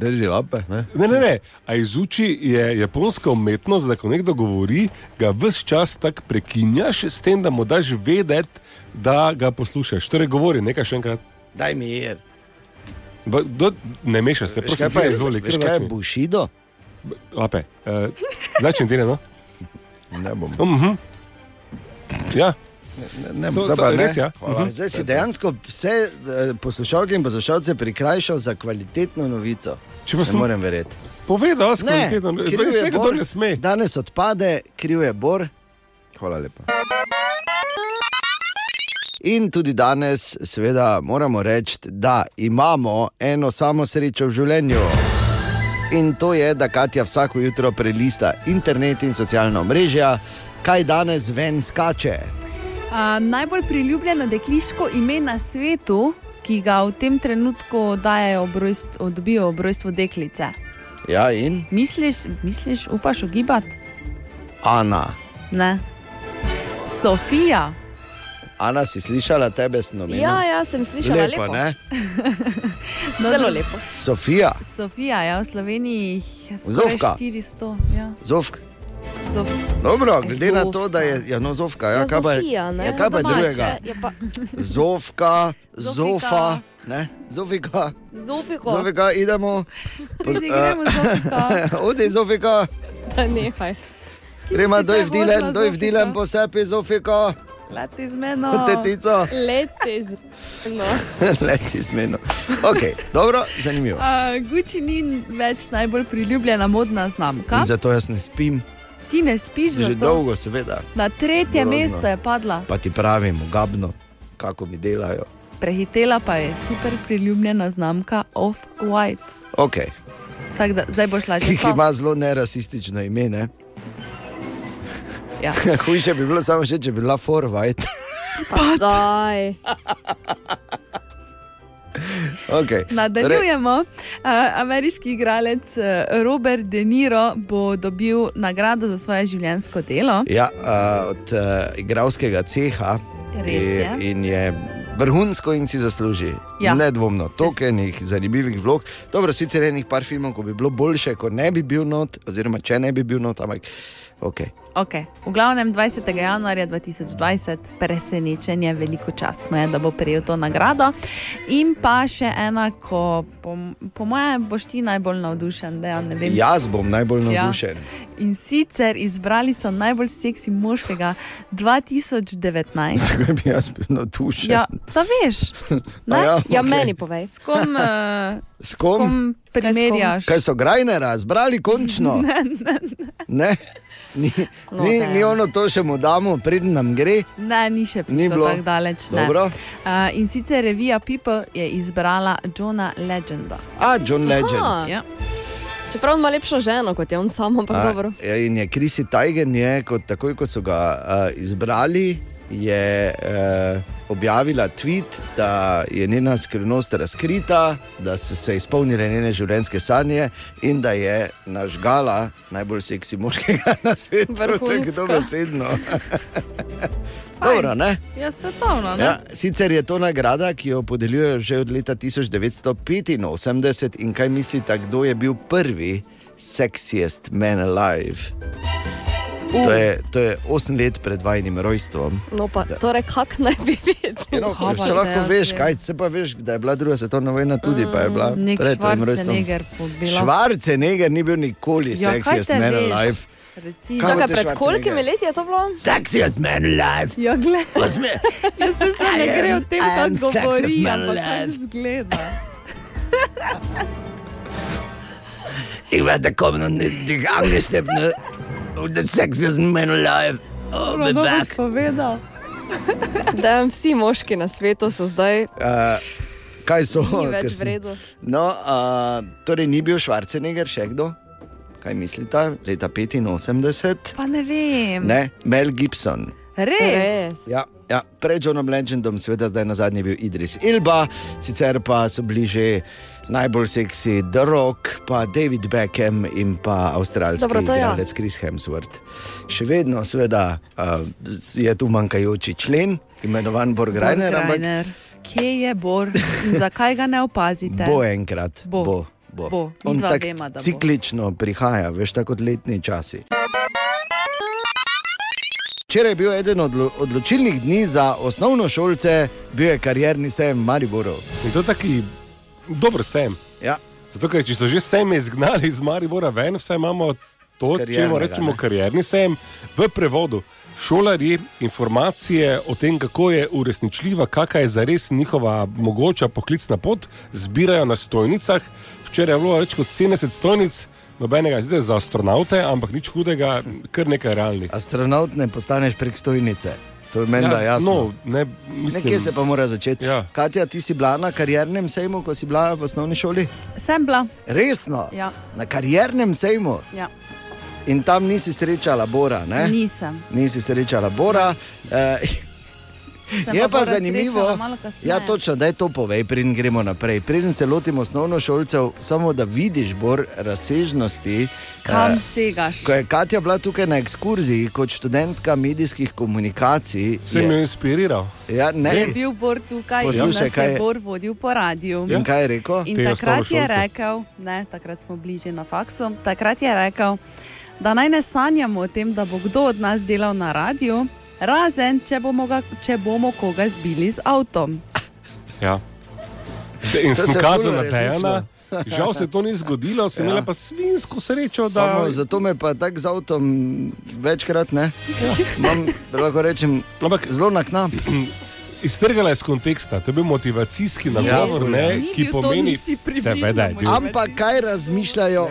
[SPEAKER 2] Drži lape. Ne?
[SPEAKER 19] Ne, ne, ne. A izuči je japonska umetnost, da ko nekdo govori, ga vse čas tako prekinjaš, s tem, da mu daš vedeti, da ga poslušaš. Torej, govori nekaj še enkrat.
[SPEAKER 3] Daj mi je.
[SPEAKER 19] Ba, do, ne meša se,
[SPEAKER 3] Veš,
[SPEAKER 19] prosim,
[SPEAKER 3] kaj pa
[SPEAKER 19] ti
[SPEAKER 3] je-
[SPEAKER 19] izvoli.
[SPEAKER 3] veš, kaj je bušido?
[SPEAKER 19] Lape, uh, začni ti, no?
[SPEAKER 2] Ne bom.
[SPEAKER 19] Uh -huh. Ja.
[SPEAKER 2] Ne,
[SPEAKER 19] So-
[SPEAKER 3] zdaj
[SPEAKER 19] so-
[SPEAKER 3] pa ne.
[SPEAKER 19] res, ja.
[SPEAKER 3] Hvala. Zdaj si dejansko vse eh, poslušalke in poslušalce prikrajšal za kvalitetno novico.
[SPEAKER 19] Če
[SPEAKER 3] ne
[SPEAKER 19] sem-
[SPEAKER 3] morem verjeti.
[SPEAKER 19] Povedal sem kvalitetno
[SPEAKER 3] Ne,
[SPEAKER 19] novico.
[SPEAKER 3] kriv
[SPEAKER 19] Res
[SPEAKER 3] je
[SPEAKER 19] tega
[SPEAKER 3] Bor.
[SPEAKER 19] dol ne sme.
[SPEAKER 3] Danes odpade, kriv je Bor.
[SPEAKER 2] Hvala lepa.
[SPEAKER 3] In tudi danes, seveda, moramo reči, da imamo eno samo srečo v življenju. In to je, da Katja vsako jutro prelista internet in socialna mreža, kaj danes ven skače.
[SPEAKER 7] A, najbolj priljubljeno dekliško ime na svetu, ki ga v tem trenutku dajejo ob rojstvu, dobijo ob rojstvu deklice.
[SPEAKER 3] Ja, in
[SPEAKER 7] Misliš, misliš upaš ugibati?
[SPEAKER 3] Ana.
[SPEAKER 7] Ne. Sofija.
[SPEAKER 3] Ana, si slišala tebe snovi?
[SPEAKER 5] Ja, ja, sem slišala. Lepo,
[SPEAKER 3] lepo, ne?
[SPEAKER 5] Zelo lepo.
[SPEAKER 3] Sofija,
[SPEAKER 7] Sofija, ja, v Sloveniji jih je skoraj
[SPEAKER 3] Zofka.
[SPEAKER 7] 400. Ja.
[SPEAKER 3] zovk.
[SPEAKER 7] Zof.
[SPEAKER 3] Dobro, glede na to, da je ja, no, zovka, ja, kaj pa je, ja, kaj pa je drugega?
[SPEAKER 5] Ja, pa...
[SPEAKER 3] Zovka,
[SPEAKER 5] Zofika.
[SPEAKER 3] zofa, ne? zofika.
[SPEAKER 5] Zofiko.
[SPEAKER 3] Zofika, idemo. Eh.
[SPEAKER 5] Ajde, gremo, Zofika.
[SPEAKER 3] Odi, zofika.
[SPEAKER 5] Da, nehaj.
[SPEAKER 3] Gremo,
[SPEAKER 5] si
[SPEAKER 3] doj
[SPEAKER 5] kaj
[SPEAKER 3] v dilen,
[SPEAKER 5] vozila,
[SPEAKER 3] doj v
[SPEAKER 5] Zofika?
[SPEAKER 3] dilen, posepi, zofika.
[SPEAKER 7] Leti z mano.
[SPEAKER 3] Tetica.
[SPEAKER 5] Leti z no. mano.
[SPEAKER 3] Leti zmeno. Ok, dobro, zanimivo.
[SPEAKER 7] A, Eh, Gucci ni več najbolj priljubljena modna znamka.
[SPEAKER 3] In zato jaz ne spim,
[SPEAKER 7] Ti ne spiš
[SPEAKER 3] že
[SPEAKER 7] zato.
[SPEAKER 3] dolgo, seveda.
[SPEAKER 7] Na tretje
[SPEAKER 3] Grozno.
[SPEAKER 7] mesto je padla.
[SPEAKER 3] Pa ti pravim, gabno, kako mi delajo.
[SPEAKER 7] prehitela pa je super priljubljena znamka Off-White.
[SPEAKER 3] Okay.
[SPEAKER 7] Tako da zdaj boš lažje.
[SPEAKER 3] Ki ima zelo nerasistično ime. Ne?
[SPEAKER 7] Ja.
[SPEAKER 3] Hujše bi bilo samo še, če bi bila forvajt.
[SPEAKER 5] Pa daj.
[SPEAKER 3] Okay. Torej,
[SPEAKER 7] Nadaljujemo. A, Ameriški igralec eh, Robert De Niro bo dobil nagrado za svoje življenjsko delo.
[SPEAKER 3] Ja, a, od uh, igralskega ceha
[SPEAKER 7] Res je.
[SPEAKER 3] in, in je vrhunsko in si zasluži.
[SPEAKER 7] Ja.
[SPEAKER 3] Nedvomno, toliko enih zanimivih vlog. Dobro, sicer enih par filmov, ko bi bilo boljše, ko ne bi bil not, oziroma če ne bi bil not, ampak ok.
[SPEAKER 7] Okay. V glavnem 20. januarja 2020, presenečenje, veliko čast mu je, da bo prejel to nagrado. In pa še ena, ko po, po mojem boš ti najbolj navdušen, da ja, ne vem.
[SPEAKER 3] Jaz bom najbolj
[SPEAKER 7] Ja.
[SPEAKER 3] navdušen.
[SPEAKER 7] In sicer izbrali so najbolj seksi moškega 2019.
[SPEAKER 3] Zakaj bi jaz bil navdušen?
[SPEAKER 7] Ja, da veš.
[SPEAKER 3] A
[SPEAKER 7] Ne?
[SPEAKER 3] ja, Ja, okej. meni
[SPEAKER 5] povej.
[SPEAKER 7] S kom, eh,
[SPEAKER 3] S kom?
[SPEAKER 7] S kom primerjaš?
[SPEAKER 3] Kaj so grajne razbrali, končno?
[SPEAKER 7] Ne, ne,
[SPEAKER 3] ne? Ni,
[SPEAKER 7] No,
[SPEAKER 3] ni,
[SPEAKER 7] ne.
[SPEAKER 3] ni ono to, še mu damo, preden nam gre.
[SPEAKER 7] Ne, ni še prišlo
[SPEAKER 3] Ni bilo.
[SPEAKER 7] tako daleč. ne.
[SPEAKER 3] Dobro.
[SPEAKER 7] Uh, in sicer revija People je izbrala Johna Legenda.
[SPEAKER 3] A, John Legend.
[SPEAKER 5] Aha.
[SPEAKER 7] Ja.
[SPEAKER 5] Čeprav ima lepšo ženo kot je on sam, ampak
[SPEAKER 3] A,
[SPEAKER 5] dobro.
[SPEAKER 3] ja, In je Krisi Tajgen, je, kot, takoj ko so ga uh, izbrali, je uh, objavila tweet, da je njena skrivnost razkrita, da so se izpolnile njene življenjske sanje in da je nažgala najbolj seksi moškega na svetu. Tako
[SPEAKER 7] Vrhunsko.
[SPEAKER 3] dobesedno. Dobro, ne?
[SPEAKER 7] Ja, svetovno.
[SPEAKER 3] Ja,
[SPEAKER 7] Ja.
[SPEAKER 3] sicer je to nagrada, ki jo podeljujejo že od leta 1985. In kaj mislite, kdo je bil prvi sexiest man alive? To je, to je 8 let pred vajnim rojstvom.
[SPEAKER 5] No, pa, torej, kak naj bi videl?
[SPEAKER 3] Če lahko veš, kaj se pa veš, da je bila druga svetovna vojna tudi, pa je bila
[SPEAKER 5] Mm, nek
[SPEAKER 3] pred tvojim rojstvom.
[SPEAKER 5] Schwarzenegger
[SPEAKER 7] bo
[SPEAKER 5] bila.
[SPEAKER 3] Švarceneger ni bil nikoli
[SPEAKER 5] Ja, kaj te
[SPEAKER 3] sexiest man
[SPEAKER 5] veš?
[SPEAKER 3] alive. Kaj
[SPEAKER 5] Čakaj,
[SPEAKER 3] boste
[SPEAKER 5] pred
[SPEAKER 3] Schwarzenegger?
[SPEAKER 5] kolikimi leti je to bilo?
[SPEAKER 3] Sexiest man alive.
[SPEAKER 7] Ja, gled. Jaz se sem ne
[SPEAKER 5] I
[SPEAKER 7] gre o
[SPEAKER 5] am-
[SPEAKER 7] tem,
[SPEAKER 5] I
[SPEAKER 7] kako
[SPEAKER 5] am sexiest
[SPEAKER 7] govori,
[SPEAKER 5] man
[SPEAKER 7] ampak kako
[SPEAKER 5] alive.
[SPEAKER 7] zgleda.
[SPEAKER 3] Ik werd de komende die aangestemd. The sexiest man alive. Oh, my
[SPEAKER 5] Ravno boš
[SPEAKER 3] back.
[SPEAKER 7] povedal.
[SPEAKER 5] Da, vsi moški na svetu so zdaj.
[SPEAKER 3] Uh, kaj so?
[SPEAKER 5] Ni
[SPEAKER 3] Ker
[SPEAKER 5] več
[SPEAKER 3] sem-
[SPEAKER 5] vredno.
[SPEAKER 3] No, uh, torej ni bil Schwarzenegger še kdo? Kaj mislite? Leta 85?
[SPEAKER 7] Pa ne vem.
[SPEAKER 3] Ne, Mel Gibson.
[SPEAKER 7] Res? Res.
[SPEAKER 3] Ja, ja. Pred Johnom Legendom, seveda, zdaj na zadnji je bil Idris Ilba, sicer pa so bili že najbolj seksi The Rock, pa David Beckham in pa avstralski
[SPEAKER 5] Dobro, to ja.
[SPEAKER 3] igralec Chris Hemsworth. Še vedno, seveda, uh, je tu manjkajoči člen, imenovan Borgrajner, ampak
[SPEAKER 7] Borgrajner. Kje je Bor in zakaj ga ne opazite?
[SPEAKER 3] bo enkrat.
[SPEAKER 7] Bo.
[SPEAKER 3] bo. Bo.
[SPEAKER 7] Bo.
[SPEAKER 3] On
[SPEAKER 7] Midva
[SPEAKER 3] tako
[SPEAKER 7] veva, da bo.
[SPEAKER 3] ciklično prihaja, veš, tako kot letni časi. Včeraj je bil eden od odlo- odločilnih dni za osnovno šolce, bil je karjerni sejem Mariborov.
[SPEAKER 19] Je to taki dober sem.
[SPEAKER 3] Ja.
[SPEAKER 19] Zato, ker če so že seme izgnali iz Maribora ven, vse imamo to, čemu
[SPEAKER 3] Kariernega,
[SPEAKER 19] rečemo
[SPEAKER 3] ne?
[SPEAKER 19] karjerni sem, v prevodu. Šolarji informacije o tem, kako je uresničljiva, kakšna je zares njihova mogoča poklicna pot, zbirajo na stojnicah. Včeraj je bilo več kot 70 stojnic, nobenega zdaj za astronaute, ampak nič hudega, kar nekaj realnih.
[SPEAKER 3] Astronaut ne postaneš prek stojnice. To je meni
[SPEAKER 19] Ja,
[SPEAKER 3] ja, jasno.
[SPEAKER 19] no, ne, mislim-
[SPEAKER 3] Nekje se pa mora začeti.
[SPEAKER 19] Ja.
[SPEAKER 3] Katja, ti si bila na karjernem sejmu, ko si bila v osnovni šoli?
[SPEAKER 7] Sem bila.
[SPEAKER 3] Resno,
[SPEAKER 7] Ja.
[SPEAKER 3] na karjernem sejmu.
[SPEAKER 7] Ja.
[SPEAKER 3] In tam nisi srečala Bora, ne?
[SPEAKER 7] Nisem.
[SPEAKER 3] Nisi srečala Bora. eh,
[SPEAKER 7] Sem
[SPEAKER 3] Je
[SPEAKER 7] pa
[SPEAKER 3] pa,
[SPEAKER 7] Bora srečala
[SPEAKER 3] zanimivo,
[SPEAKER 7] malo kasneje.
[SPEAKER 3] ja, točno, da je to povej, preden gremo naprej. Preden se lotimo osnovno šolcev, samo da vidiš bor razsežnosti.
[SPEAKER 7] Kam
[SPEAKER 3] eh,
[SPEAKER 7] segaš?
[SPEAKER 3] Ko je Katja bila tukaj na ekskurziji kot študentka medijskih komunikacij,
[SPEAKER 19] Sem jo
[SPEAKER 3] je,
[SPEAKER 19] inspiriral.
[SPEAKER 3] ja, ne,
[SPEAKER 7] Je bil Bor tukaj in
[SPEAKER 3] Poslušaj,
[SPEAKER 7] nas
[SPEAKER 3] kaj
[SPEAKER 7] je
[SPEAKER 3] je-
[SPEAKER 7] Bor vodil po radiju.
[SPEAKER 19] Ja.
[SPEAKER 3] In kaj je rekel?
[SPEAKER 7] In
[SPEAKER 3] Te
[SPEAKER 7] takrat Ah, je
[SPEAKER 3] osnovnošolce.
[SPEAKER 7] rekel, ne, takrat smo bili že na faksu, takrat je rekel, da naj ne sanjamo o tem, da bo kdo od nas delal na radiju, razen če bomo, ga, če bomo koga zbili z avtom.
[SPEAKER 19] Ja. De- In
[SPEAKER 3] To
[SPEAKER 19] sem
[SPEAKER 3] se
[SPEAKER 19] kazal
[SPEAKER 3] ful
[SPEAKER 19] na
[SPEAKER 3] uresničilo.
[SPEAKER 19] Dejana. Žal se to ni zgodilo, sem
[SPEAKER 3] Ja.
[SPEAKER 19] ja. imel pa svinsko srečo, da
[SPEAKER 3] Samo zato me pa tako z avtom
[SPEAKER 19] Ja.
[SPEAKER 3] večkrat ne. Imam, lahko rečem,
[SPEAKER 19] Ampak,
[SPEAKER 3] zelo na knap.
[SPEAKER 19] Iztrgala je iz konteksta, to je bil motivacijski
[SPEAKER 3] Ja.
[SPEAKER 19] nagovor, ne, ki pomeni, seveda je bil.
[SPEAKER 3] Ampak kaj razmišljajo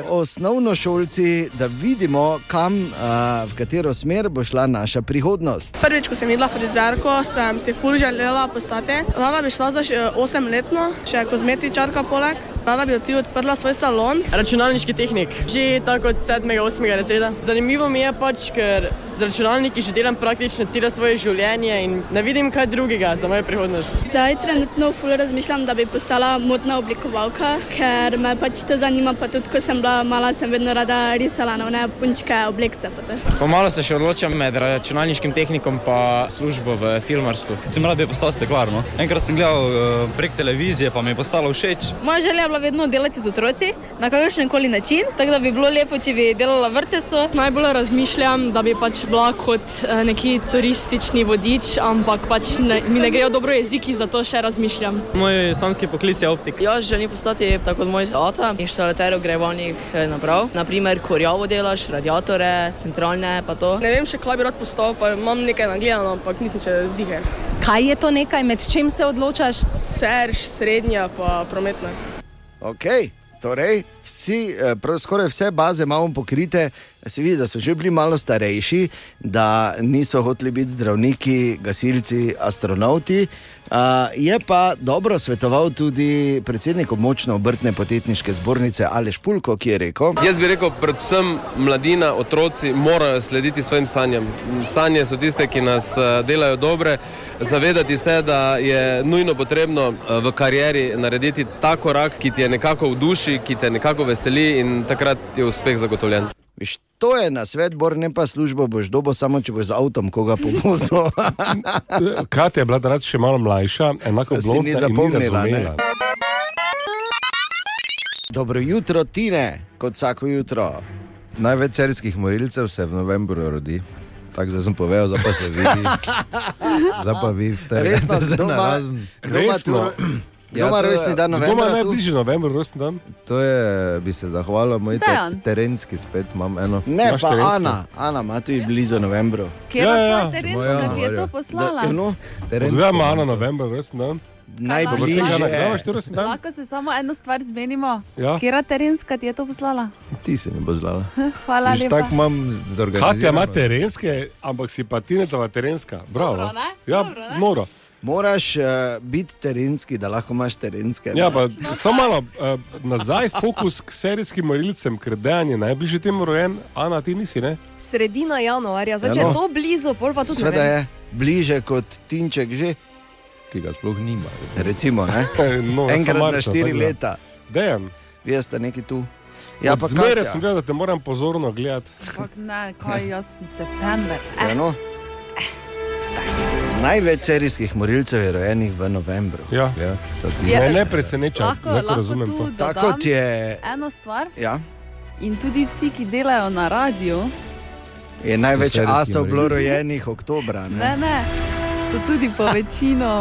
[SPEAKER 3] osnovnošolci, da vidimo, kam, a, v katero smer bo šla naša prihodnost?
[SPEAKER 20] Prvič, ko sem videla frizerko, sem si ful želela postati. Rada bi šla za 8 letno, še kozmetičarka poleg. Rada bi tudi odprla svoj salon.
[SPEAKER 21] Računalniški tehnik, že tako od 7-8 razreda. Zanimivo mi je pač, ker z računalniki že delam praktično celo svoje življenje in ne vidim kaj drugega za mojo prihodnost.
[SPEAKER 22] Zdaj trenutno fully razmišljam, da bi postala modna oblikovalka, ker me pač to zanima. Pa tudi, ko sem bila mala, sem vedno rada risala na one punčke, oblekce. pa to.
[SPEAKER 23] Pomalo se še odločam med računalniškim tehnikom in službo v filmarstvu. Sem rad bi postal steklar. No? Enkrat sem gledal eh, prek televizije, pa mi je postalo všeč.
[SPEAKER 24] Moja želja je bila vedno delati z otroci na kakršen koli način, tako da bi bilo lepo, če bi delala vrtec.
[SPEAKER 25] Najbolj razmišljam, da bi pač bila kot eh, neki turistični vodič, ampak pač ne, mi ne grejo dobro jeziki, zato še razmišljam.
[SPEAKER 23] Moj sanski poklic je optik.
[SPEAKER 24] Ja, želim postati tako kot moj oče, inštalater ogrevalnih eh, naprav. Naprimer, korjavo delaš, radiatore, centralne pa to.
[SPEAKER 20] Ne vem še, kaj bi rad postal, pa imam nekaj nagledano, ampak nisem še ziger.
[SPEAKER 24] Kaj je to nekaj, med čim se odločaš?
[SPEAKER 20] Serž, srednja, pa prometna.
[SPEAKER 3] Okay. Torej, vsi, eh, prav, skoraj vse baze imamo pokrite, se vidi, da so že bili malo starejši, da niso hoteli biti zdravniki, gasilci, astronauti. Uh, je pa dobro svetoval tudi predsednik območne obrtne podjetniške zbornice Aleš Pulko, ki je rekel:
[SPEAKER 26] Jaz bi rekel, predvsem mladina, otroci morajo slediti svojim sanjam. Sanje so tiste, ki nas eh, delajo dobre. Zavedati se, da je nujno potrebno eh, v karieri narediti ta korak, ki ti je nekako v duši, ki te nekako veseli in takrat je uspeh zagotovljen.
[SPEAKER 3] Viš, to je na svet, bor ne pa službo, boš dobo samo, če boš z avtom koga povozil.
[SPEAKER 19] Katja je bila takrat še malo mlajša, enako
[SPEAKER 3] Si
[SPEAKER 19] blondna
[SPEAKER 3] ni
[SPEAKER 19] in
[SPEAKER 3] zapomnila, ne?
[SPEAKER 19] razumela.
[SPEAKER 3] Dobro jutro, Tine, kot vsako jutro.
[SPEAKER 2] Največ serijskih morilcev se v novembru rodi. Tako zdaj sem povedal, zdaj pa se vidi. Zdaj pa vi v tem.
[SPEAKER 3] Resno, kdo ima- kdo ima tu
[SPEAKER 2] E, Resno.
[SPEAKER 3] ro- kdo ima rojstni dan novembra Kdo ima tu? najbližji
[SPEAKER 2] november, rojstni dan? To je, bi se zahvalil, moj te,
[SPEAKER 3] Dejan.
[SPEAKER 2] terenski spet imam eno.
[SPEAKER 3] Ne, pa Ana, Ana ima tudi blizu novembru.
[SPEAKER 7] Kje ja, ja, terenska ti je to poslala?
[SPEAKER 3] Da, no,
[SPEAKER 19] Zdaj ima Ana november, resno dan.
[SPEAKER 7] Najbližje.
[SPEAKER 19] Najbližje.
[SPEAKER 7] Lahko se samo eno stvar zmenimo.
[SPEAKER 19] Ja.
[SPEAKER 7] Kje terenska ti je to poslala?
[SPEAKER 2] Ti si mi boš znala.
[SPEAKER 7] Hvala
[SPEAKER 2] Viš,
[SPEAKER 7] lepa.
[SPEAKER 2] Tako imam zorganizirano.
[SPEAKER 19] Katja ima terenske, ampak si pa Tinetova terenska. Bravo.
[SPEAKER 7] Dobro, ne?
[SPEAKER 19] ja, noro.
[SPEAKER 3] Moraš uh, biti terenski, da lahko imaš terenske.
[SPEAKER 19] Ja, pa samo malo uh, nazaj, fokus k serijskim morilcem, ker dejan je najbližje temu rojen, Ana, ti nisi, ne?
[SPEAKER 5] Sredina januarja, zdaj če
[SPEAKER 3] Ja,
[SPEAKER 5] je
[SPEAKER 3] no.
[SPEAKER 5] to blizu, pol pa tudi ne
[SPEAKER 3] Sveda
[SPEAKER 5] vem.
[SPEAKER 3] je bliže kot Tinček že.
[SPEAKER 2] Ki ga sploh nima.
[SPEAKER 3] Recimo, ne?
[SPEAKER 19] no, jaz sem
[SPEAKER 3] Enkrat na
[SPEAKER 19] Marčo,
[SPEAKER 3] štiri
[SPEAKER 19] tako da.
[SPEAKER 3] leta.
[SPEAKER 19] Dejan.
[SPEAKER 3] Vi ste neki tu.
[SPEAKER 19] Ja,
[SPEAKER 3] Ja, pa
[SPEAKER 19] Zmeraj
[SPEAKER 3] Katja.
[SPEAKER 19] sem gledal, da te moram pozorno gledati.
[SPEAKER 7] Ampak ne, kaj jaz sem september. Eh,
[SPEAKER 3] Ja, no. Največ serijskih morilcev je rojenih v novembru.
[SPEAKER 19] Ja.
[SPEAKER 2] Ja,
[SPEAKER 7] Je-
[SPEAKER 19] ne, ne preseneča,
[SPEAKER 7] Lahko-
[SPEAKER 19] zdaj ko
[SPEAKER 7] lahko
[SPEAKER 19] razumem
[SPEAKER 7] tu
[SPEAKER 19] to.
[SPEAKER 7] dodam
[SPEAKER 3] Tako kot je.
[SPEAKER 7] Eno stvar.
[SPEAKER 3] Ja.
[SPEAKER 7] In tudi vsi, ki delajo na radiju,
[SPEAKER 3] Je največ
[SPEAKER 2] Serijski
[SPEAKER 3] asov bilo
[SPEAKER 2] morilci.
[SPEAKER 3] rojenih oktobra.
[SPEAKER 7] ne,
[SPEAKER 3] Ne?
[SPEAKER 7] ne, so tudi po večino,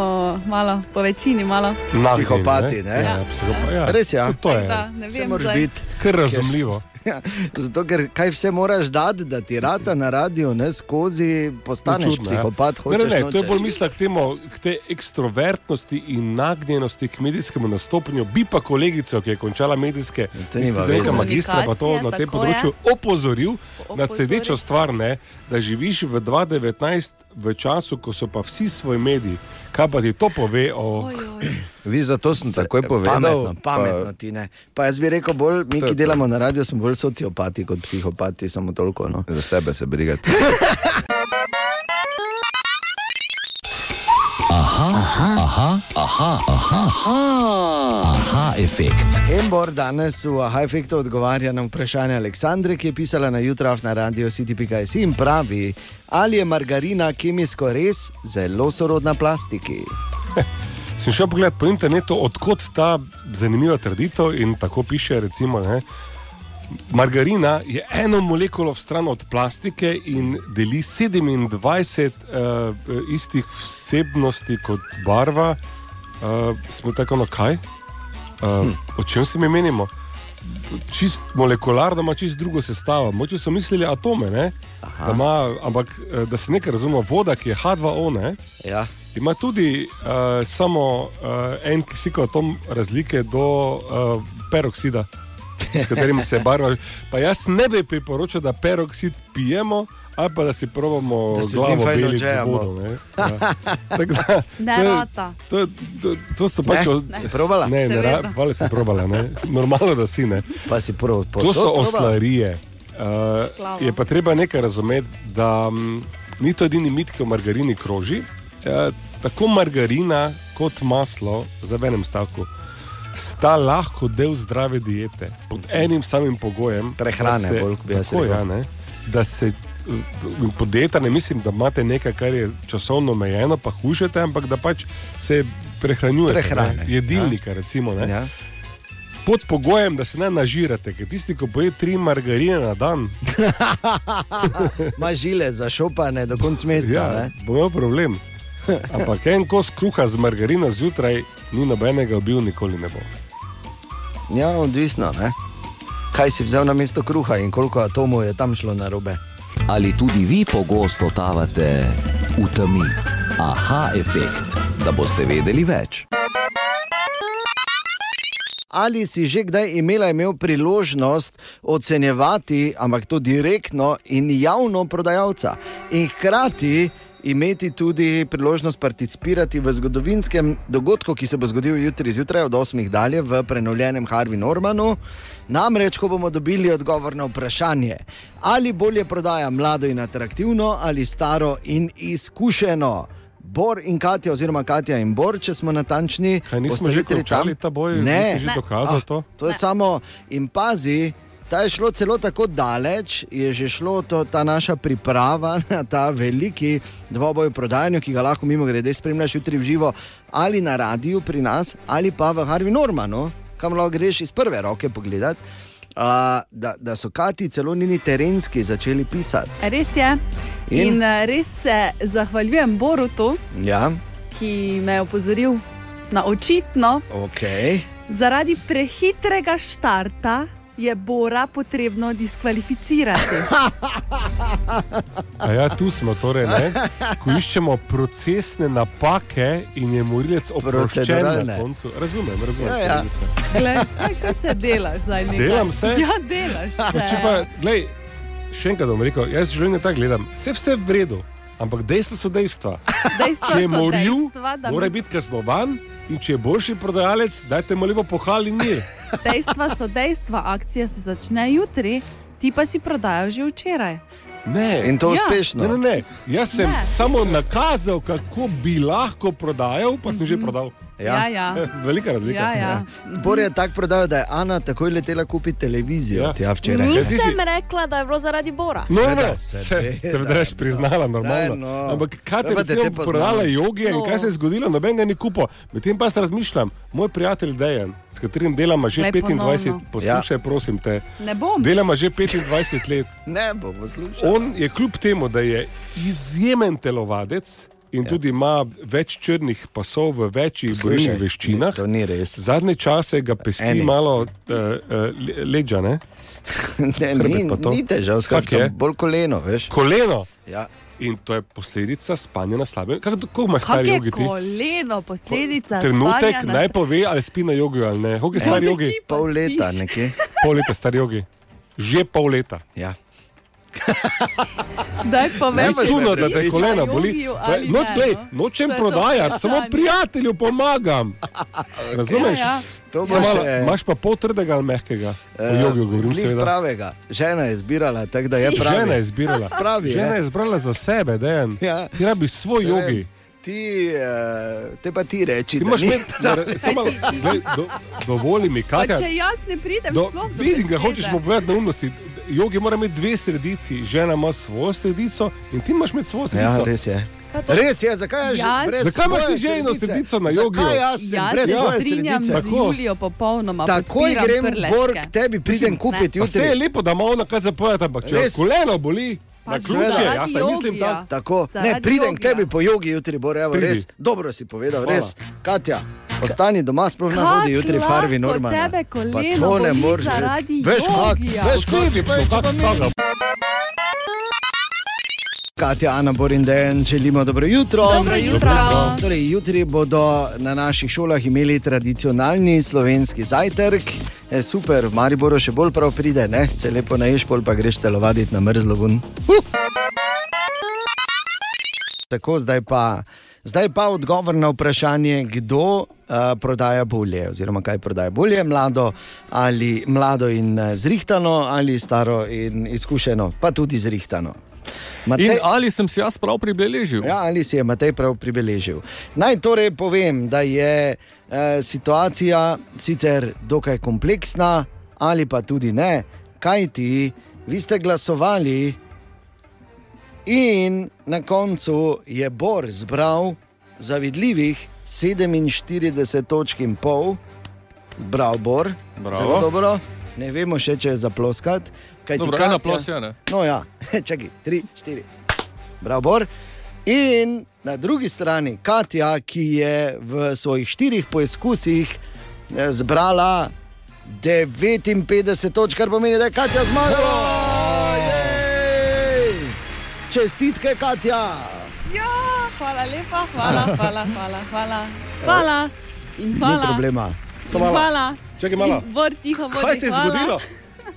[SPEAKER 7] malo, po večini malo.
[SPEAKER 19] Nagli,
[SPEAKER 3] Psihopati, ne?
[SPEAKER 19] Ja, psihopa, ja.
[SPEAKER 3] Res je. Ja.
[SPEAKER 19] Tudi To je
[SPEAKER 7] Da, ne
[SPEAKER 3] Vse
[SPEAKER 7] vem,
[SPEAKER 3] moraš
[SPEAKER 7] zdaj.
[SPEAKER 3] biti.
[SPEAKER 19] kar razumljivo.
[SPEAKER 3] Ja, zato, ker kaj vse moraš dati, da ti rata na radiju, ne skozi, postaneš
[SPEAKER 19] Čudno,
[SPEAKER 3] Čudno,
[SPEAKER 19] ja.
[SPEAKER 3] psihopat,
[SPEAKER 19] Ne,
[SPEAKER 3] hočeš
[SPEAKER 19] ne, ne, to je
[SPEAKER 3] nočeš.
[SPEAKER 19] bolj misla k, temu, k tej ekstrovertnosti in nagnjenosti k medijskemu nastopanju. Bi pa kolegico, ki je končala medijske, mislim,
[SPEAKER 3] No, nima
[SPEAKER 19] da je neka
[SPEAKER 3] veze.
[SPEAKER 19] magistra, pa to na
[SPEAKER 3] Komunikacije,
[SPEAKER 19] tem
[SPEAKER 3] tako
[SPEAKER 19] področju opozoril na
[SPEAKER 3] Opozoril.
[SPEAKER 19] sedečo stvar, ne, da živiš v 2019 v času, ko so pa vsi svoji mediji. Kaj pa ti to pove o...
[SPEAKER 2] Vi zato sem takoj povedal.
[SPEAKER 3] Pametno,
[SPEAKER 2] pa-
[SPEAKER 3] pametno ti ne. Pa jaz bi rekel, bolj, mi,
[SPEAKER 2] To je
[SPEAKER 3] ki
[SPEAKER 2] to.
[SPEAKER 3] delamo na radiju, smo bolj sociopati kot psihopati, samo toliko. No.
[SPEAKER 2] Za sebe se brigate.
[SPEAKER 27] Aha, aha, aha, aha, No, aha, aha, aha efekt.
[SPEAKER 3] Embor danes v Hajfektu odgovarja na vprašanje Aleksandre, ki je pisala na jutraf na radio City.js in pravi, ali je margarina kemijsko res zelo sorodna plastiki.
[SPEAKER 19] Sem šel pogledat po internetu, odkot ta zanimiva trditev in tako piše. Recimo, ne, margarina je eno molekulo stran od plastike in deli 27 uh, istih vsebnosti kot barva. Uh, smo tako na kaj? Uh, o čem se mi menimo? Čist molekularno ima čist drugo sestavo. Moče so mislili atome, ne? da, ima, ampak, eh, da se nekaj razume, voda, ki je H2O, ne?
[SPEAKER 3] Ja.
[SPEAKER 19] Ima tudi uh, samo uh, en kisikov atom razlike do uh, peroksida, s katerim se barva. Pa jaz ne bi priporočal, da peroksid pijemo. Ali pa da si probamo
[SPEAKER 3] Da se z njim
[SPEAKER 19] glavo
[SPEAKER 3] fajn
[SPEAKER 19] beliti z
[SPEAKER 3] odžejemo.
[SPEAKER 19] vodo. ne. Ja. Tako da, to je-
[SPEAKER 7] Derota.
[SPEAKER 19] To, to, to so pač
[SPEAKER 3] Ne?
[SPEAKER 19] od-
[SPEAKER 3] Ne. Si probala?
[SPEAKER 19] Ne, ne,
[SPEAKER 3] Seveda.
[SPEAKER 19] ra- vale sem probala. Ne. Normalno, da si ne.
[SPEAKER 3] Pa si prav,
[SPEAKER 19] to so
[SPEAKER 3] probala?
[SPEAKER 19] oslarije.
[SPEAKER 3] Glava.
[SPEAKER 19] Uh, je pa treba nekaj razumeti, da um, ni to edini mit, ki o margarini kroži. Uh, tako margarina kot maslo, za v enem stavku, sta lahko del zdrave diete pod enim samim pogojem.
[SPEAKER 3] Prehrane,
[SPEAKER 19] da se-
[SPEAKER 3] bolj, kot bi jaz
[SPEAKER 19] tako,
[SPEAKER 3] rekel.
[SPEAKER 19] ja, ne, da se podjetja, ne mislim, da imate nekaj, kar je časovno omejeno, pa hujšete, ampak da pač se prehranjujete.
[SPEAKER 3] Prehrane,
[SPEAKER 19] ne. Jedilnika, ja. recimo. Ne. Ja. Pod pogojem, da se ne nažirate, ker tisti, ki poje tri margarine na dan,
[SPEAKER 3] Ima žile zašopane do konca meseca.
[SPEAKER 19] ja,
[SPEAKER 3] ne?
[SPEAKER 19] bo imel problem. Ampak en kos kruha z margarino zjutraj, ni nobenega obil, nikoli ne bo.
[SPEAKER 3] Ja, odvisno. Ne? Kaj si vzel na mesto kruha in koliko atomov je tam šlo na robe?
[SPEAKER 27] Ali tudi vi pogosto totavate v temi? Aha, efekt, da boste vedeli več.
[SPEAKER 3] Ali si že kdaj imela imel priložnost ocenjevati, ampak to direktno in javno prodajalca, in hkrati imeti tudi priložnost participirati v zgodovinskem dogodku, ki se bo zgodil jutri zjutraj od 8. dalje v prenovljenem Harvi Normanu. Namreč, ko bomo dobili odgovor na vprašanje, ali bolje prodaja mlado in atraktivno, ali staro in izkušeno. Bor in Katja, oziroma Katja in Bor, če smo natančni,
[SPEAKER 19] Kaj nismo
[SPEAKER 3] boste
[SPEAKER 19] že
[SPEAKER 3] jutri tam?
[SPEAKER 19] končali ta boj?
[SPEAKER 3] Ne, Ah,
[SPEAKER 19] Nisi že Ne. dokazal to?
[SPEAKER 3] To je samo in pazi. Ta je šlo celo tako daleč, je že šlo to, ta naša priprava na ta veliki dvoboj v prodajanju, ki ga lahko mimo grede spremljaš jutri v živo ali na radiju pri nas ali pa v Harvi Normanu, kam lahko greš iz prve roke pogledati, a, da, da so Kati celo njeni terenski začeli pisati.
[SPEAKER 7] Res je. In,
[SPEAKER 3] In?
[SPEAKER 7] In eh, res se zahvaljujem Borutu,
[SPEAKER 3] Ja,
[SPEAKER 7] ki me je opozoril na očitno.
[SPEAKER 3] ok.
[SPEAKER 7] Zaradi prehitrega štarta je Bora potrebno diskvalificirati.
[SPEAKER 19] A ja, tu smo torej, ne? ko iščemo procesne napake in je morilec oproščen na
[SPEAKER 3] Proceduralne.
[SPEAKER 19] koncu. Razumem, razumem.
[SPEAKER 7] Ja, ja.
[SPEAKER 19] kolegica.
[SPEAKER 7] Glej, Kaj kaj se delaš zdaj? nekaj?
[SPEAKER 19] Delam se.
[SPEAKER 7] Ja, delaš
[SPEAKER 19] Pa
[SPEAKER 7] se.
[SPEAKER 19] Če pa, glej, še enkrat bom rekel, jaz življenje tako gledam, vse vse v redu, ampak dejstva so dejstva.
[SPEAKER 7] Dejstva
[SPEAKER 19] če je
[SPEAKER 7] so
[SPEAKER 19] moril,
[SPEAKER 7] dejstva, da
[SPEAKER 19] mora
[SPEAKER 7] mi-
[SPEAKER 19] biti kaznovan in če je boljši prodajalec, dajte mu lepo pohval in mir.
[SPEAKER 7] Dejstva so dejstva, akcija se začne jutri, ti pa si prodajal že včeraj.
[SPEAKER 19] Ne.
[SPEAKER 7] In to Ja. uspešno.
[SPEAKER 19] Ne, ne, ne. Jaz sem
[SPEAKER 7] Ne.
[SPEAKER 19] ne. samo nakazal, kako bi lahko prodajal, pa sem že
[SPEAKER 7] Mhm.
[SPEAKER 19] prodal.
[SPEAKER 3] Ja. Ja, ja.
[SPEAKER 19] Velika razlika.
[SPEAKER 7] ja.
[SPEAKER 3] Bor je tako prodal, da je Ana takoj letela kupiti televizijo. Ja. Tja včeraj.
[SPEAKER 7] Mhm.
[SPEAKER 5] Nisem rekla, da je bilo zaradi Bora.
[SPEAKER 19] Ne, ne, se,
[SPEAKER 3] seveda,
[SPEAKER 19] seveda je priznala,
[SPEAKER 3] Daj,
[SPEAKER 19] normalno.
[SPEAKER 3] no.
[SPEAKER 19] Ampak kaj te
[SPEAKER 3] Daj, pa te
[SPEAKER 19] je
[SPEAKER 3] te poznam.
[SPEAKER 19] prodala jogija in
[SPEAKER 7] No.
[SPEAKER 19] kaj se je zgodilo, noben ga ni kupo. Medtem pa jaz razmišljam, moj prijatelj Dejan, s katerim delamo že
[SPEAKER 7] Glej, ponovno.
[SPEAKER 19] 25, poslušaj, prosim te.
[SPEAKER 7] Ne bom.
[SPEAKER 19] Delamo že 25 let.
[SPEAKER 3] Ne bo poslušal.
[SPEAKER 19] On je kljub temu, da je izjemen telovadec. In ja. tudi ima več črnih pasov v večjih
[SPEAKER 3] Poslušaj,
[SPEAKER 19] bojnih veščinah.
[SPEAKER 3] To ni res.
[SPEAKER 19] Zadnje čase ga pesti
[SPEAKER 3] Eni.
[SPEAKER 19] Eni. malo uh, uh, leđa. Ne?
[SPEAKER 3] Ne,
[SPEAKER 19] Hrbet
[SPEAKER 3] ni,
[SPEAKER 19] pa to.
[SPEAKER 3] ni težav,
[SPEAKER 19] Kako je?
[SPEAKER 3] skratka, bolj koleno, veš.
[SPEAKER 19] Koleno.
[SPEAKER 3] Ja.
[SPEAKER 19] In to je posledica spanja na slabem. Kako imaš
[SPEAKER 7] Kak
[SPEAKER 19] stari
[SPEAKER 7] je
[SPEAKER 19] jogi? ti?
[SPEAKER 7] koleno, posledica
[SPEAKER 19] Trenutek
[SPEAKER 7] spanja na
[SPEAKER 19] naj pove, ali spi na jogi ali ne. Kako je
[SPEAKER 3] Ne.
[SPEAKER 19] star jogi?
[SPEAKER 7] Ekipa Pol leta spiš. nekje.
[SPEAKER 19] Pol leta star jogi. Že pol leta.
[SPEAKER 3] Ja.
[SPEAKER 7] Daj povej,
[SPEAKER 19] Ni čudno, da te
[SPEAKER 7] prepriča
[SPEAKER 19] kolena boli.
[SPEAKER 7] Jogiju ali
[SPEAKER 19] No,
[SPEAKER 7] ne,
[SPEAKER 19] glej,
[SPEAKER 7] no.
[SPEAKER 19] nočem
[SPEAKER 7] To Ja, je to
[SPEAKER 19] prodajati, samo
[SPEAKER 7] vprašanje.
[SPEAKER 19] prijatelju pomagam. Razumeš?
[SPEAKER 7] Ja, ja.
[SPEAKER 3] To eh, bo
[SPEAKER 19] Samo
[SPEAKER 3] še- eh,
[SPEAKER 19] Imaš pa pol trdega ali mehkega. O jogi govorim
[SPEAKER 3] glih
[SPEAKER 19] seveda.
[SPEAKER 3] Pravega. Žena je zbirala, tako da je pravi.
[SPEAKER 19] Žena je izbirala.
[SPEAKER 3] Pravi,
[SPEAKER 19] Žena
[SPEAKER 3] je.
[SPEAKER 19] je izbrala za sebe, dejan.
[SPEAKER 3] Ja.
[SPEAKER 19] Ti rabiš svoj
[SPEAKER 3] Se
[SPEAKER 19] jogi.
[SPEAKER 3] Ti, eh, te pa ti reči,
[SPEAKER 19] Ti moraš
[SPEAKER 3] da ni
[SPEAKER 19] imeti, da re- samo, glej, do, dovolj mi,
[SPEAKER 7] Pa
[SPEAKER 19] Katja.
[SPEAKER 7] če jaz ne pridem,
[SPEAKER 19] Do,
[SPEAKER 7] sploh do
[SPEAKER 19] vidim,
[SPEAKER 7] besede.
[SPEAKER 19] da hočeš povedati neumnosti. Jogi mora imeti dve sredici, žena ima svojo sredico in ti imaš imeti svojo sredico.
[SPEAKER 3] Ja, res je. Res je, zakaj je že
[SPEAKER 7] Jaz-
[SPEAKER 3] brez
[SPEAKER 19] Zakaj imaš
[SPEAKER 3] svoje
[SPEAKER 19] ti ženo
[SPEAKER 3] sredice?
[SPEAKER 19] sredico na
[SPEAKER 3] Zakaj
[SPEAKER 19] jogijo?
[SPEAKER 3] jaz sem
[SPEAKER 7] Jaz
[SPEAKER 3] brez
[SPEAKER 7] se
[SPEAKER 3] svoje
[SPEAKER 7] strinjam
[SPEAKER 3] sredice?
[SPEAKER 7] z
[SPEAKER 3] Tako.
[SPEAKER 7] Julijo popolnoma.
[SPEAKER 3] Takoj
[SPEAKER 7] podpiram
[SPEAKER 3] grem,
[SPEAKER 7] prleške.
[SPEAKER 3] Bor, k tebi pridem kupiti
[SPEAKER 19] Pa Vse je
[SPEAKER 3] jutri.
[SPEAKER 19] lepo, da ima ona kaj zapovedati, ampak če jo
[SPEAKER 3] Res.
[SPEAKER 19] koleno boli,
[SPEAKER 7] Pa
[SPEAKER 19] na ključe,
[SPEAKER 3] seveda.
[SPEAKER 19] jaz ne mislim tam.
[SPEAKER 3] Tako, ne,
[SPEAKER 7] Zaradi
[SPEAKER 3] pridem k
[SPEAKER 7] jogija.
[SPEAKER 3] tebi po jogi jutri, bo revo,
[SPEAKER 19] Pridi.
[SPEAKER 3] res. Dobro si povedal,
[SPEAKER 19] Hvala.
[SPEAKER 3] res. Katja, ostani doma, sploh ne hodi jutri v Harvi Norman.
[SPEAKER 7] Tebe
[SPEAKER 3] Pa
[SPEAKER 7] koleno
[SPEAKER 3] to
[SPEAKER 7] boli
[SPEAKER 3] ne moreš
[SPEAKER 7] zaradi
[SPEAKER 3] Veš, kak,
[SPEAKER 7] jogija.
[SPEAKER 3] veš, kak,
[SPEAKER 19] Posledično,
[SPEAKER 3] če pa
[SPEAKER 19] kako
[SPEAKER 3] mi-
[SPEAKER 19] saga.
[SPEAKER 3] Katja, Ana, Borin, Dejan, želimo dobro jutro.
[SPEAKER 1] Dobro jutro.
[SPEAKER 3] Torej, jutri bodo na naših šolah imeli tradicionalni slovenski zajtrk. E, super, v Mariboru še bolj prav pride, ne? se lepo naješ, pol pa greš telovaditi na mrzlo ven. Uh! Tako, zdaj pa, zdaj pa odgovor na vprašanje, kdo uh, prodaja bolje, oziroma kaj prodaja bolje, mlado ali mlado in eh, zrihtano, ali staro in izkušeno, pa tudi zrihtano.
[SPEAKER 6] In ali sem si jaz prav pribeležil?
[SPEAKER 3] Ja, ali si je Matej prav pribeležil. Naj torej povem, da je eh, situacija sicer dokaj kompleksna, ali pa tudi ne, kaj ti, vi ste glasovali in na koncu je Bor zbral zavidljivih 47 točk in pol, bral Bor,
[SPEAKER 6] Bravo.
[SPEAKER 3] zelo dobro, ne vemo še, če je zaploskati. kaj ti
[SPEAKER 6] Dobro, ena
[SPEAKER 3] Katja-
[SPEAKER 6] plosja, ne?
[SPEAKER 3] No, ja, čakaj, tri, štiri. Bravo, Bor. In na drugi strani Katja, ki je v svojih štirih poizkusih eh, zbrala 59 točk, kar pomeni, da je Katja zmagala. Jej! Čestitke, Katja.
[SPEAKER 7] Ja, hvala lepa, hvala, hvala, hvala, hvala. Hvala in
[SPEAKER 3] Ni
[SPEAKER 7] hvala.
[SPEAKER 3] problema.
[SPEAKER 7] In hvala.
[SPEAKER 19] Čakaj malo.
[SPEAKER 7] In Bor, tiho, bor,
[SPEAKER 19] Kaj se je
[SPEAKER 7] hvala.
[SPEAKER 19] zgodilo?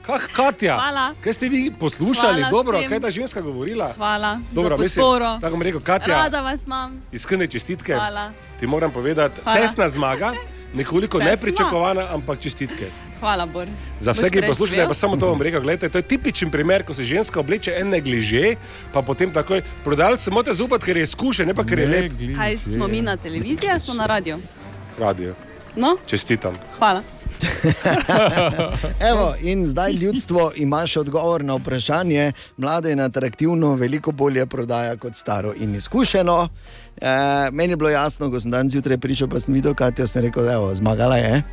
[SPEAKER 19] Kaj, Katja,
[SPEAKER 7] Hvala.
[SPEAKER 19] kaj ste vi poslušali?
[SPEAKER 7] Hvala
[SPEAKER 19] Dobro,
[SPEAKER 7] vsem.
[SPEAKER 19] kaj je ta ženska govorila?
[SPEAKER 7] Hvala.
[SPEAKER 19] Dobro,
[SPEAKER 7] za
[SPEAKER 19] mislim, ja.
[SPEAKER 7] podporo.
[SPEAKER 19] tako bom rekel, Katja.
[SPEAKER 7] Rada vas imam.
[SPEAKER 19] Iskrene čestitke.
[SPEAKER 7] Hvala.
[SPEAKER 19] Ti moram povedati,
[SPEAKER 7] Hvala.
[SPEAKER 19] tesna zmaga, nekoliko
[SPEAKER 7] Tesna.
[SPEAKER 19] nepričakovana, ampak čestitke.
[SPEAKER 7] Hvala, Bor.
[SPEAKER 19] Za
[SPEAKER 7] Boš
[SPEAKER 19] vse, ki poslušate,
[SPEAKER 7] preživel?
[SPEAKER 19] pa samo to vam rekel, gledajte, to je tipičen primer, ko se ženska obleče en negliže, pa potem takoj prodajalec se mora zupati, ker je izkušen, ne pa ker je lep.
[SPEAKER 7] Kaj smo mi na televiziji ali smo na radiju?
[SPEAKER 19] Radio.
[SPEAKER 7] No,
[SPEAKER 19] Čestitam.
[SPEAKER 7] hvala.
[SPEAKER 3] Evo, in zdaj ljudstvo ima še odgovor na vprašanje. Mlado in atraktivno veliko bolje prodaja kot staro in izkušeno. E, meni je bilo jasno, ko sem danes zjutraj pričal, pa sem videl, kaj ti je rekel, evo, zmagala je.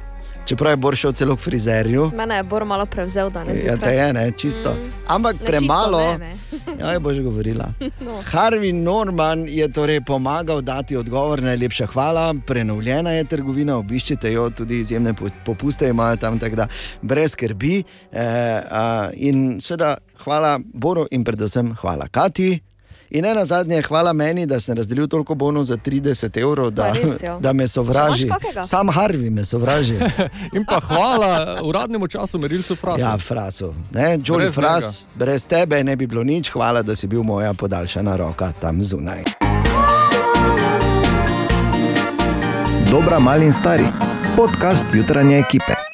[SPEAKER 3] Čeprav je Bor šel celo k frizerju.
[SPEAKER 5] Mene je Bor malo prevzel danes.
[SPEAKER 3] Ja, te
[SPEAKER 5] zjutraj.
[SPEAKER 3] je, ne, čisto. Ampak
[SPEAKER 5] Ne,
[SPEAKER 3] premalo.
[SPEAKER 5] čisto ne,
[SPEAKER 3] Ja, je boš govorila.
[SPEAKER 5] No.
[SPEAKER 3] Harvey Norman je torej pomagal dati odgovor, najlepša hvala. Prenovljena je trgovina, obiščite jo, tudi izjemne pos- popuste imajo tam, tako da brez skrbi. E, a, in seveda hvala Boru in predvsem hvala Kati. In ena zadnja, hvala meni, da sem razdelil toliko bonov za 30 evrov, da,
[SPEAKER 6] Pa res, jo.
[SPEAKER 3] da me sovraži.
[SPEAKER 6] Imaš kakega?
[SPEAKER 3] Sam Harvey me sovraži.
[SPEAKER 6] In pa hvala uradnemu času, merilcu prasu.
[SPEAKER 3] Ja, frasu. Ne, Jolly
[SPEAKER 6] Brez
[SPEAKER 3] Fras, brez tebe ne bi bilo nič, hvala, da si bil moja podaljšana roka tam zunaj.
[SPEAKER 4] Dobra, mali in stari. Podcast jutranje ekipe.